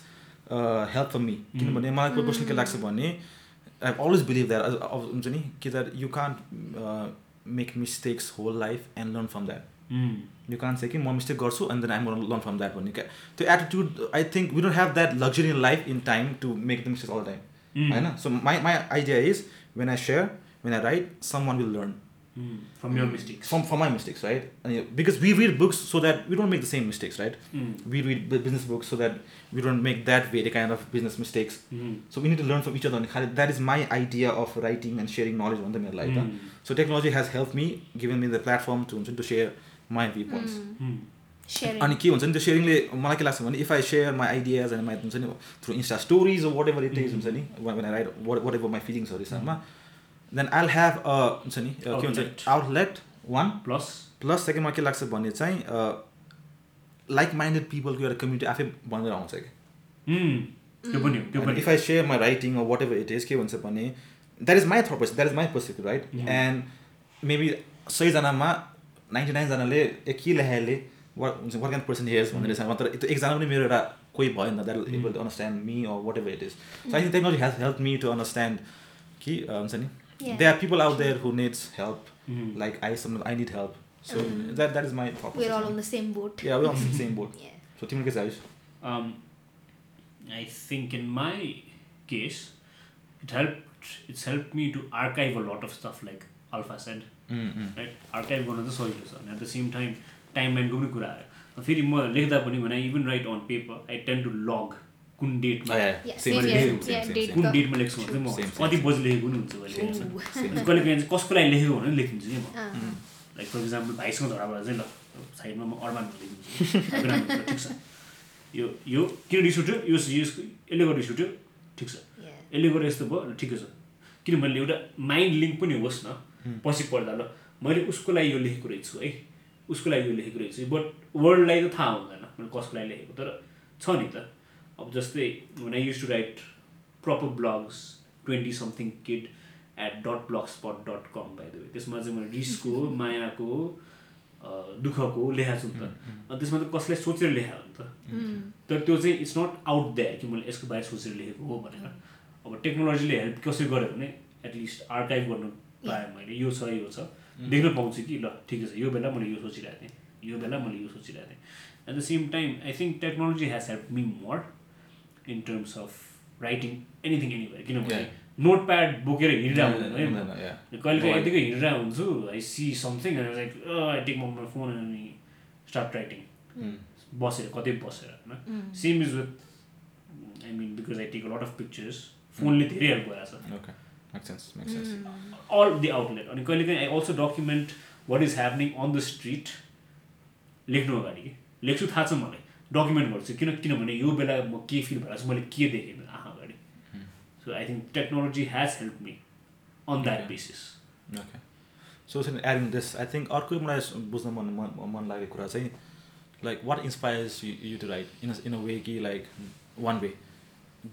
Speaker 2: help for me किनभने मलाई कोही पर्सन के लाग्छ भने आई अलवेज बिलिभ द्याट अब uh, हुन्छ नि कि that you can't make mistakes whole life and learn from that
Speaker 1: Mm.
Speaker 2: You can say कि म मिस्टेक गर्छु and then I'm learn from that भन्ने क्या त्यो attitude I think we don't have that luxury in life in time to make the mistake all time
Speaker 1: Mm.
Speaker 3: Hmm.
Speaker 2: होइन so my my idea is when I share when I write someone will learn
Speaker 1: Mm.
Speaker 3: From your mistakes
Speaker 2: from from my mistakes right अनि because we read books so that we don't make the same mistakes right
Speaker 1: Mm.
Speaker 2: we read bu- business books so that we don't make that very kind of business mistakes.
Speaker 1: Mm.
Speaker 2: So we need to learn from each other. And kind of- that is my idea of writing and sharing knowledge on the middle like
Speaker 3: Hmm.
Speaker 2: that. So technology has helped me, given me the platform to, to share my viewpoints.
Speaker 1: Mm,
Speaker 3: like
Speaker 1: sharing.
Speaker 2: अनि के हुन्छ नि त्यो सेयरिङले मलाई के लाग्छ भने if I share my ideas and my हुन्छ नि through Insta stories whatever it is हुन्छ नि राइट वाट एभर माई फिलिङ्सहरू हिसाबमा देन आइल हेभ अ हुन्छ नि अ, के हुन्छ
Speaker 3: Outlet.
Speaker 2: Outlet one
Speaker 3: plus
Speaker 2: plus सेकेन्डमा के लाग्छ भने चाहिँ लाइक माइन्डेड पिपलको एउटा कम्युनिटी आफै बनेर आउँछ कि
Speaker 1: Mm.
Speaker 3: त्यो पनि हो त्यो पनि
Speaker 2: if I share my writing whatever it is के हुन्छ भने that is my purpose that is my perspective right
Speaker 3: Mhm.
Speaker 2: And maybe सयजनामा नाइन्टी नाइनजनाले ए के लेखाएले वाट हुन्छ वाट क्यान पर्सन हेयर्स भन्ने रहेछ मात्र त्यो एकजना पनि मेरो एउटा कोही भयो नि that able to understand me or whatever it is so I think technology help help me to understand कि अ, हुन्छ नि
Speaker 1: Yeah.
Speaker 2: They are people out there who needs help
Speaker 1: Mm.
Speaker 3: Mhm.
Speaker 2: Like I some I need help so
Speaker 1: Mhm.
Speaker 2: That that is my
Speaker 1: We're all on
Speaker 2: purpose
Speaker 1: the same boat.
Speaker 2: Yeah, we're on the same boat.
Speaker 1: Yeah.
Speaker 2: So तिम्रो के चाहियो
Speaker 3: Um, I think in my case, it helped. It's helped me to archive a lot of stuff, like Alpha said, right? Archive गर्न त सजिलो छ अनि at the same time time लाइनको पनि कुरा आयो फेरि म लेख्दा पनि भने I even write on paper I tend to log कुन
Speaker 2: Oh,
Speaker 3: डेटमा
Speaker 1: Yeah,
Speaker 2: same
Speaker 1: same
Speaker 3: here.
Speaker 2: Same
Speaker 1: Yeah,
Speaker 2: same
Speaker 1: date.
Speaker 2: Same
Speaker 3: कुन डेटमा लेख्छु भने चाहिँ
Speaker 2: Same,
Speaker 3: म
Speaker 2: same,
Speaker 3: कति बजी लेखेको पनि हुन्छु अहिले
Speaker 1: Ooh.
Speaker 3: कहिले काहीँ चाहिँ कसको लागि लेखेको भनेर लेखिदिन्छु कि म
Speaker 1: अँ,
Speaker 3: लाइक फर इक्जाम्पल भाइसँग झगडा भएर चाहिँ ल साइडमा म अर्बान लेखिदिन्छु अभिराम हुन्छ, ठिक छ यो यो किन रिस उठ्यो यो यसको यसले गर्दा रिस उठ्यो ठिक छ
Speaker 1: yeah.
Speaker 3: यसले गर्दा यस्तो भयो ल ठिकै छ किनभने एउटा माइन्ड लिङ्क पनि होस् न पछि पढ्दा ल मैले उसको लागि यो लेखेको रहेछु है उसको लागि यो लेखेको रहेछु बट वर्डलाई त थाहा हुँदैन मैले कसको लागि लेखेको तर छ नि त अब जस्तै when I used to write proper blogs twenty something kid at dot blogspot dot com way त्यसमा चाहिँ मैले रिसको मायाको अ, दुःखको लेखाएको छु नि त अनि त्यसमा त कसलाई सोचेर लेखा हो नि त तर त्यो चाहिँ इट्स नट आउट देयर कि मैले यसको बारे सोचेर लेखेको हो भनेर अब टेक्नोलोजीले हेल्प कसरी गर्यो भने एटलिस्ट आर्काइभ गर्नु पाएँ मैले यो छ यो छ देख्न पाउँछु कि ल ठिकै छ यो बेला मैले यो सोचिरहेको थिएँ यो बेला मैले यो सोचिरहेको थिएँ at the same time I think technology has help me more in terms of writing anything anywhere किनभने नोट प्याड बोकेर हिँडिरहेको हुँदैन है म। कहिलेकाहीँ
Speaker 2: Right.
Speaker 3: यतिकै हिँडिरहेको हुन्छु I see something like I take mum phone अनि स्टार्ट राइटिङ बसेर कतै बसेर होइन same is with I mean because I take lot of pictures फोनले धेरै हेल्प गराएको छ
Speaker 2: okay make sense make sense
Speaker 3: all the outlet अनि कहिले काहीँ I also document what is happening on the street लेख्नु अगाडि कि लेख्छु थाहा छ मलाई डकुमेन्ट गर्छु किन किनभने यो बेला म के फिल भएर छु मैले के देखेँ मेरो आँखा अगाडि so I think technology has help me on that basis
Speaker 2: okay so then adding this I think अर्को मलाई स- बुझ्न मन मन मन लागेको कुरा चाहिँ like what inspires you you to write in in a way कि like one way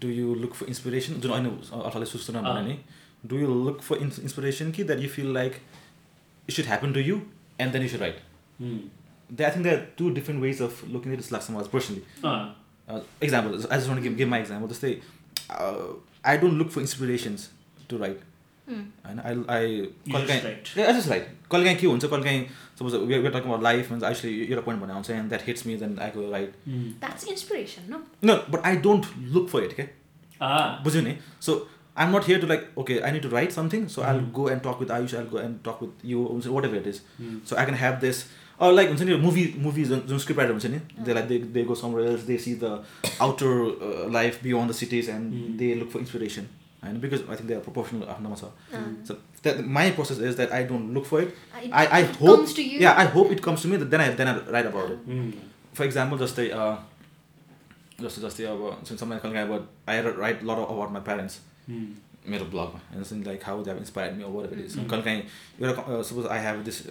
Speaker 2: do you look for inspiration जुन अहिले अर्थाले सुस्तन भने नि डु यु लुक फर इन्स इन्सपिरेसन कि that you feel like it should happen to you and then you should write
Speaker 3: Hmm.
Speaker 2: They I think that two different ways of looking it लाग्छ मलाई personally
Speaker 3: Ah.
Speaker 2: Uh, example I just want give give my example जस्तै I don't look for inspirations to write
Speaker 1: Mm.
Speaker 2: होइन आई आई
Speaker 3: You just
Speaker 2: कहिलेकाहीँ
Speaker 3: write.
Speaker 2: ए, I just write. कहिलेकाहीँ के हुन्छ कहिलेकाहीँ suppose we're talking about life भन्छ आइसले एउटा पोइन्ट भन्ने आउँछ and that hits me then I go write
Speaker 1: That's inspiration, no?
Speaker 2: No but I don't look for it के बुझ्यो नि so I am not here to like okay I need to write something so I
Speaker 3: Mm-hmm.
Speaker 2: Go and talk with Ayush I go and talk with you हुन्छ whatever it is so I can have this or like हुन्छ नि मुभी मुभी जुन जुन स्क्रिप्ट राइटर हुन्छ नि त्यसलाई they they go somewhere else they see the outer life beyond the cities and they look for inspiration होइन because I think they are professional आफ्नोमा छ so that my process is that I don't look for it
Speaker 1: Uh-huh. It-
Speaker 2: I I
Speaker 1: it
Speaker 2: hope
Speaker 1: comes to you.
Speaker 2: Yeah I hope it comes to me then I then I write about it for example जस्तै अ, जस्तै जस्तै अब समय कहिले अब I write lot about my parents मेरो ब्लगमा होइन since like how they have inspired me over every
Speaker 3: Mm-hmm.
Speaker 2: Some कहिले काहीँ एउटा uh, suppose I have this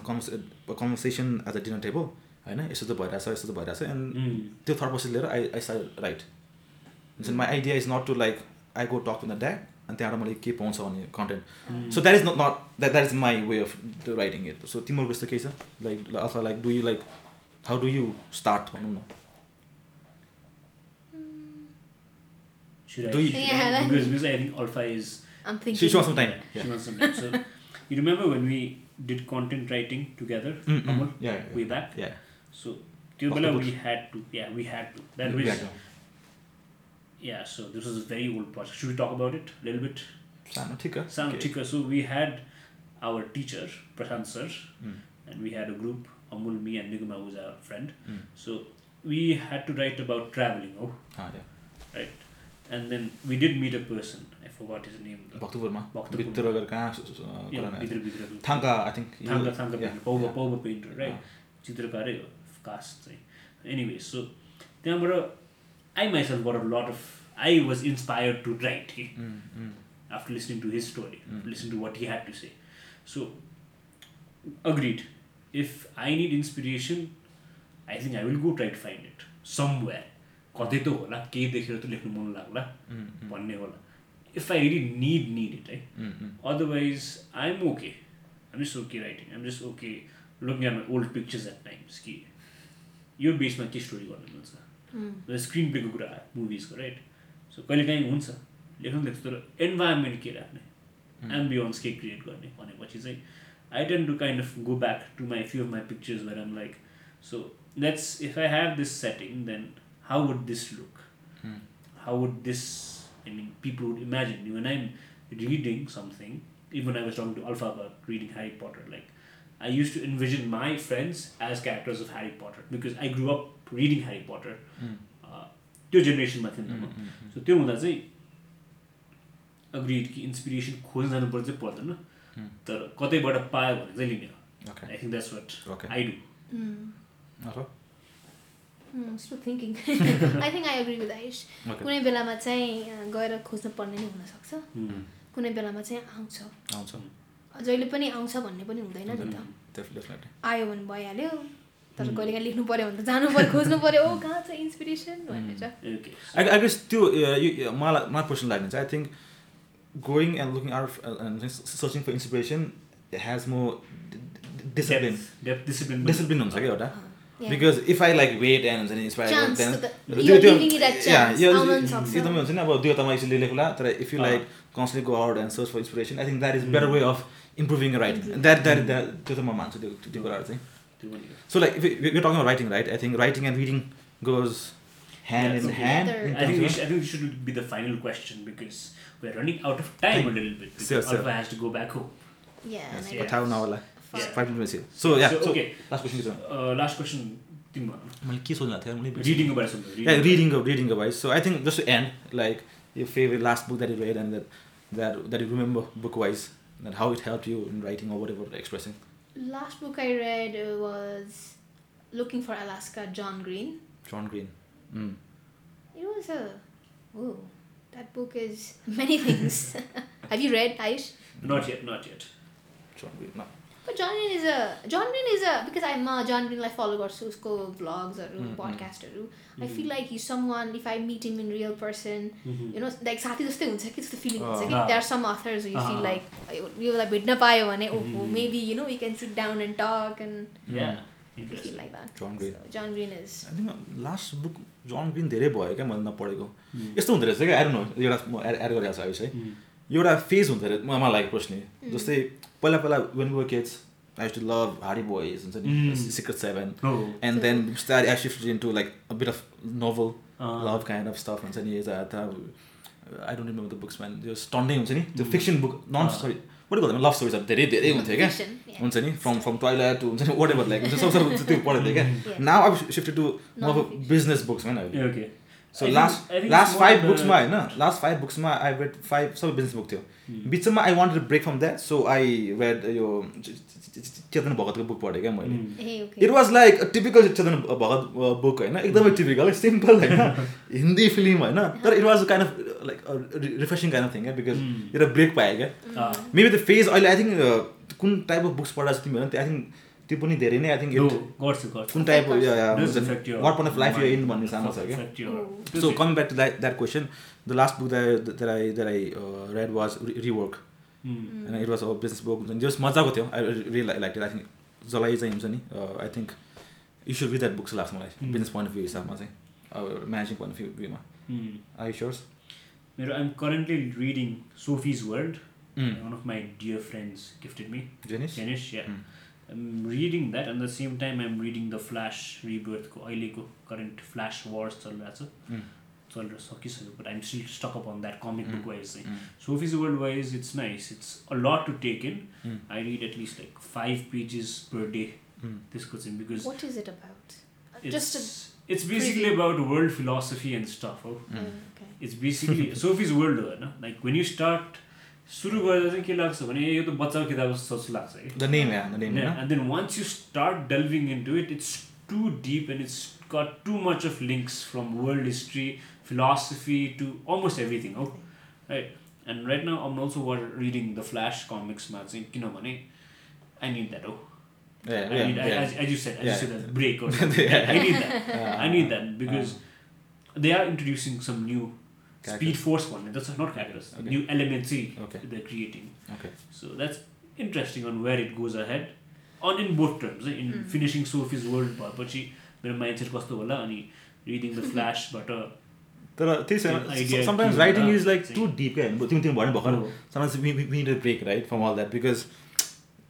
Speaker 2: uh, conversation as a dinner table होइन यस्तो त भइरहेछ यस्तो त भइरहेछ एन्ड
Speaker 3: Mm-hmm.
Speaker 2: त्यो थर्ड पर्सन लिएर आई आई साइड राइट हुन्छ my
Speaker 3: Mm-hmm.
Speaker 2: Idea is not to like I go talk in the dag अनि त्यहाँबाट मैले के पाउँछ भन्ने
Speaker 3: Mm-hmm.
Speaker 2: Content so that is not not that that is my way of writing it so तिम्रो यस्तो केही छ लाइक अथवा like do you like how do you start भनौँ न Do you-
Speaker 1: Yeah, that-
Speaker 3: because, because I think Alpha is
Speaker 1: I'm thinking.
Speaker 2: She- she wants some time.
Speaker 3: She
Speaker 2: Yeah.
Speaker 3: wants some time. So you remember when we did content writing together,
Speaker 2: Mm, mm.
Speaker 3: Amol,
Speaker 2: Yeah, yeah,
Speaker 3: way back.
Speaker 2: yeah.
Speaker 3: So Tubula,
Speaker 2: Octopus.
Speaker 3: we had to. Yeah, we had to. That was.
Speaker 2: Yeah.
Speaker 3: Yeah. So this was a very old project. Should we talk about it a little bit?
Speaker 2: सानो ठिक हो,
Speaker 3: Sound
Speaker 2: okay.
Speaker 3: okay. So we had our teacher Prashant sir,
Speaker 2: Mm.
Speaker 3: and we had a group. Amul, me, and Nigma was our friend.
Speaker 2: Mm.
Speaker 3: So we had to write about traveling. Oh,
Speaker 2: अँ, yeah.
Speaker 3: right. And then we did meet a person. I forgot his name. though.
Speaker 2: भक्तपुरमा
Speaker 3: भक्तपुरमा।
Speaker 2: भित्र गएर कहाँ सु- सु- अँ,
Speaker 3: Yeah,
Speaker 2: कुरा नै-
Speaker 3: Bidra Bidra.
Speaker 2: Thangka I think
Speaker 3: thangka thangka painter Paubha Paubha painter right चित्रकारै हो कास्ट चाहिँ एनिवे सो त्यहाँबाट I myself got a lot of I was inspired to write कि
Speaker 2: Mm,
Speaker 3: after listening to his story, listen to what he had to say. So, agreed. If I need inspiration, I think I will go try to find it somewhere. कतै त होला केही देखेर त लेख्नु मन लाग्ला भन्ने होला if I really need need it
Speaker 2: mm,
Speaker 3: है otherwise I am okay I'm just okay writing I'm just okay looking at my old pictures at times कि यो बेसमा के स्टोरी गर्नु मन छ स्क्रिन प्लेको कुरा आयो मुभिजको राइट सो कहिले काहीँ हुन्छ लेख्नु लेख्छु तर इन्भाइरोमेन्ट के राख्ने एम्बियोन्स के क्रिएट गर्ने भनेपछि चाहिँ I tend to kind of go back to my few of my pictures where am like so let's if I have this setting, then how would this look?
Speaker 2: Mm.
Speaker 3: How would this? I mean, people would imagine when I'm reading something. Even I was talking to Alpha about reading Harry Potter. Like, I used to envision my friends as characters of Harry Potter because I grew up reading Harry Potter.
Speaker 2: Mm.
Speaker 3: Uh, त्यो जेनेरेसनमा थिएँ नि त म
Speaker 2: Mm,
Speaker 3: सो त्यो हुँदा चाहिँ अग्रिड कि इन्सपिरेसन खोज्न जानुपर्ने चाहिँ पर्दैन
Speaker 2: Hmm.
Speaker 3: तर कतैबाट पायो भने चाहिँ लिने हो
Speaker 2: mm. Okay.
Speaker 3: I think that's what
Speaker 2: Okay.
Speaker 3: I do
Speaker 1: Mm.
Speaker 2: Okay.
Speaker 1: Mm, still thinking. *laughs* I think I agree with Aish.
Speaker 2: Okay.
Speaker 1: कुनै बेलामा चाहिँ अँ, गएर खोज्नु पर्ने नै हुनसक्छ
Speaker 2: Hmm.
Speaker 1: कुनै बेलामा चाहिँ आउँछ
Speaker 2: आउँछ
Speaker 1: जहिले पनि आउँछ भन्ने पनि हुँदैन नि त
Speaker 3: हुँदैन।
Speaker 2: Def- definitely.
Speaker 1: आयो भने भइहाल्यो तर
Speaker 3: हुँ।
Speaker 1: कहिले काहीँ लेख्नु पऱ्यो भने त जानु पऱ्यो खोज्नु पऱ्यो ओ कहाँ छ इन्सपिरेसन भनेर
Speaker 3: ओके
Speaker 2: I, I guess त्यो uh, you, uh, my, my personal guidance I think going and looking out uh, and s- searching for inspiration has more d- d- discipline
Speaker 3: deep discipline
Speaker 2: discipline हुन्छ क्या एउटा
Speaker 1: Yeah.
Speaker 2: because if I like wait and हुन्छ नि inspire
Speaker 1: Chance
Speaker 2: then
Speaker 1: to the-
Speaker 2: त्यो-
Speaker 1: you're
Speaker 2: त्यो-
Speaker 1: giving it a
Speaker 2: yeah,
Speaker 1: chance.
Speaker 2: यो-
Speaker 1: आउन
Speaker 2: यो-
Speaker 1: सक्छ।
Speaker 2: एकदमै हुन्छ नि अब दुईवटामा यसरी लेखेको होला तर if you
Speaker 3: अँ।
Speaker 2: like constantly go out and search for inspiration I think that is
Speaker 3: Mm.
Speaker 2: better way of improving your writing
Speaker 1: Improving.
Speaker 2: that that that त्यो त म मान्छु त्यो त्यो कुराहरू चाहिँ
Speaker 3: त्यो पनि हो।
Speaker 2: so like if we- we- we're talking about writing right I think writing and reading goes hand
Speaker 3: Yeah,
Speaker 2: in
Speaker 3: so
Speaker 2: hand
Speaker 1: together.
Speaker 2: in
Speaker 3: I think
Speaker 2: terms
Speaker 3: we
Speaker 2: of-
Speaker 3: should, I think this should be the final question because we're running out of time a little bit because
Speaker 2: Sure, sure.
Speaker 3: Alpha has to go back home.
Speaker 1: Yeah, and I
Speaker 3: Yeah.
Speaker 1: got
Speaker 2: थाहा नहोला
Speaker 1: five.
Speaker 2: फाइभ मिनट्स यो so yeah
Speaker 3: so, okay,
Speaker 2: last question के छ
Speaker 3: uh, last question. Timma,
Speaker 2: मैले के सोच्नु थिएँ
Speaker 3: reading about something.
Speaker 2: मैले reading reading wise so I think just and like यो favourite last book that you read and that that that you remember book wise that how it help you in writing our ever expressing
Speaker 1: Last book I read uh, was Looking for Alaska, John Green.
Speaker 2: John Green
Speaker 1: It was a. Whoa, that book is many things. *laughs* Have you read Aish?
Speaker 3: Not yet, not yet.
Speaker 2: जन green
Speaker 1: But John Green is a. John Green is a. Because I'm a John Green, like follow गर्छु उसको vlogs
Speaker 2: Mm, mm.
Speaker 1: or podcast or. I
Speaker 3: Mm.
Speaker 1: feel like he's someone. If I meet him in real person,
Speaker 3: Mhm.
Speaker 1: you know, like साथी जस्तै हुन्छ कि त्यस्तो फिलिङ हुन्छ कि
Speaker 3: Ah.
Speaker 1: there are some authors who you feel
Speaker 3: Ah.
Speaker 1: like योलाई भेट्न पायो भने ओहो
Speaker 3: Mm.
Speaker 1: eh? Oh, maybe you know we can sit down and talk and
Speaker 3: Yeah.
Speaker 1: I feel
Speaker 3: Interesting.
Speaker 1: like that.
Speaker 2: John Green
Speaker 1: So John Green is
Speaker 2: I think last book John Green धेरै भयो क्या मैले नपढेको
Speaker 3: Mm.
Speaker 2: यस्तो हुँदो रहेछ क्या आएर नो एउटा म एड एड गरिरहेको छु अहिलेसै
Speaker 3: Mm.
Speaker 2: एउटा फेज हुँदो रहेछ म- मलाई लागेको प्रश्न यो।
Speaker 1: Mm.
Speaker 2: जस्तै पहिला पहिला when were kids I to love Hardy Boys हुन्छ नि
Speaker 3: Mm.
Speaker 2: Secret seven
Speaker 3: Oh.
Speaker 2: And then start I shifted into like a bit of novel
Speaker 3: Uh,
Speaker 2: love kind of stuff and suddenly I thought, I don't remember the books man. Just stunning हुन्छ नि त्यो fiction book non
Speaker 3: Uh.
Speaker 2: sorry what do you call them love stories अब धेरै धेरै हुन्थ्यो क्या
Speaker 1: fiction, yeah.
Speaker 2: हुन्छ नि from from twilight to हुन्छ नि whatever like हुन्छ सब सब हुन्छ त्यो पढ्थेँ क्या now I've shifted to more of a
Speaker 1: Non-fiction.
Speaker 2: business books man अहिले
Speaker 3: Yeah, okay.
Speaker 2: so
Speaker 3: I think-
Speaker 2: last
Speaker 3: I think
Speaker 2: last
Speaker 3: it's more
Speaker 2: five
Speaker 3: of a-
Speaker 2: booksमा होइन last five booksमा आई रेड फाइभ सबै बिजनेस बुक थियो
Speaker 3: Mm.
Speaker 2: बिचमा I wanted break from that so I read यो चेतन भगतको बुक पढेँ क्या मैले
Speaker 3: Mm.
Speaker 1: Hey, okay.
Speaker 2: It was like typical Chetan Bhagat book होइन
Speaker 3: Hmm.
Speaker 2: एकदमै टिपिकल सिम्पल
Speaker 3: *laughs*
Speaker 2: होइन हिन्दी फिल्म होइन तर it was kind of like refreshing kind of thing क्या बिकज
Speaker 3: Mm.
Speaker 2: एउटा ब्रेक पायो क्या
Speaker 3: Ah.
Speaker 2: मेबी द फेज अहिले आई थिङ्क कुन टाइप अफ बुक्स पढाएको छ तिमी होइन आई थिङ्क त्यो पनि धेरै नै I
Speaker 3: No,
Speaker 2: think
Speaker 3: Oh, got you, got you.
Speaker 2: कुन type
Speaker 3: Does affect your
Speaker 2: what point of life you
Speaker 3: mind,
Speaker 2: in भन्ने सानो छ
Speaker 3: does
Speaker 2: क्या
Speaker 3: affect your-
Speaker 1: Oh.
Speaker 3: does
Speaker 2: eh. So
Speaker 3: it-
Speaker 2: coming back to that, that question, the last book that I, that I, that I uh, read was Re- Rework,
Speaker 3: Mm.
Speaker 2: and it was a business book. And just मजाको थियो. I really li- liked it. I think जसलाई चाहिँ हुन्छ नि uh, I think you should read that book जस्तो लाग्छ मलाई
Speaker 3: Mm.
Speaker 2: business point of view हिसाबमा चाहिँ अब managing point of view viewमा
Speaker 3: Mm.
Speaker 2: are you sure?
Speaker 3: मेरो I'm currently reading Sophie's World.
Speaker 2: Mm.
Speaker 3: One of my dear friends gifted me.
Speaker 2: Janice?
Speaker 3: Janish, yeah.
Speaker 2: Mm.
Speaker 3: I'm reading that, and at the same time, I'm reading the Flash Rebirth, को अहिलेको current Flash Wars चलिरहेको
Speaker 2: Mm.
Speaker 3: छ चलिरहेको सकिसक्यो but I'm still stuck up on that comic book wise चाहिँ
Speaker 2: Mm.
Speaker 3: Sophie's World wise it's nice it's a lot to take in
Speaker 2: Mm.
Speaker 3: I read at least like five pages per day
Speaker 2: Mm.
Speaker 3: त्यसको चाहिँ because
Speaker 1: What is it about? Uh,
Speaker 3: it's
Speaker 1: Just a.
Speaker 3: it's basically
Speaker 1: preview.
Speaker 3: about world philosophy and stuff हो
Speaker 1: Oh,
Speaker 2: Mm.
Speaker 1: okay.
Speaker 3: It's
Speaker 2: *laughs*
Speaker 3: basically Sophie's world हो होइन लाइक वेन यु स्टार्ट सुरु गर्दा चाहिँ के लाग्छ भने यो त बच्चाको किताब जस्तो जस्तो लाग्छ है
Speaker 2: The name, yeah, the name.
Speaker 3: Yeah,
Speaker 2: Yeah.
Speaker 3: and then once you start delving into it, it's too deep and it's got too much of links from world history, philosophy to almost everything. Oh, right. And right now, I'm also wa- reading the Flash comics. ma चाहिँ किनभने I need that. Oh,
Speaker 2: Yeah,
Speaker 3: I
Speaker 2: yeah,
Speaker 3: need I,
Speaker 2: yeah.
Speaker 3: as, as you said, as
Speaker 2: Yeah.
Speaker 3: you said, that break or something.
Speaker 2: *laughs* Yeah.
Speaker 3: I need that.
Speaker 2: Uh,
Speaker 3: I need that because they are introducing some new Speed
Speaker 2: Characters.
Speaker 3: Force one. That's not characters.
Speaker 2: Okay.
Speaker 3: New elements see,
Speaker 2: Okay.
Speaker 3: they're creating.
Speaker 2: Okay.
Speaker 3: So that's interesting on where it goes ahead. On in both terms, eh, in
Speaker 1: Mm.
Speaker 3: finishing Sophie's world, भएपछि मेरो mindset कस्तो होला अनि reading
Speaker 1: *laughs*
Speaker 3: the flashबाट
Speaker 2: तर त्यही
Speaker 3: An idea
Speaker 2: छैन sometimes
Speaker 3: to-
Speaker 2: writing is
Speaker 3: uh,
Speaker 2: like to deep क्या तिमी तिमी भन्यो भर्खर
Speaker 3: Oh.
Speaker 2: Sometimes we we need a break right from all that because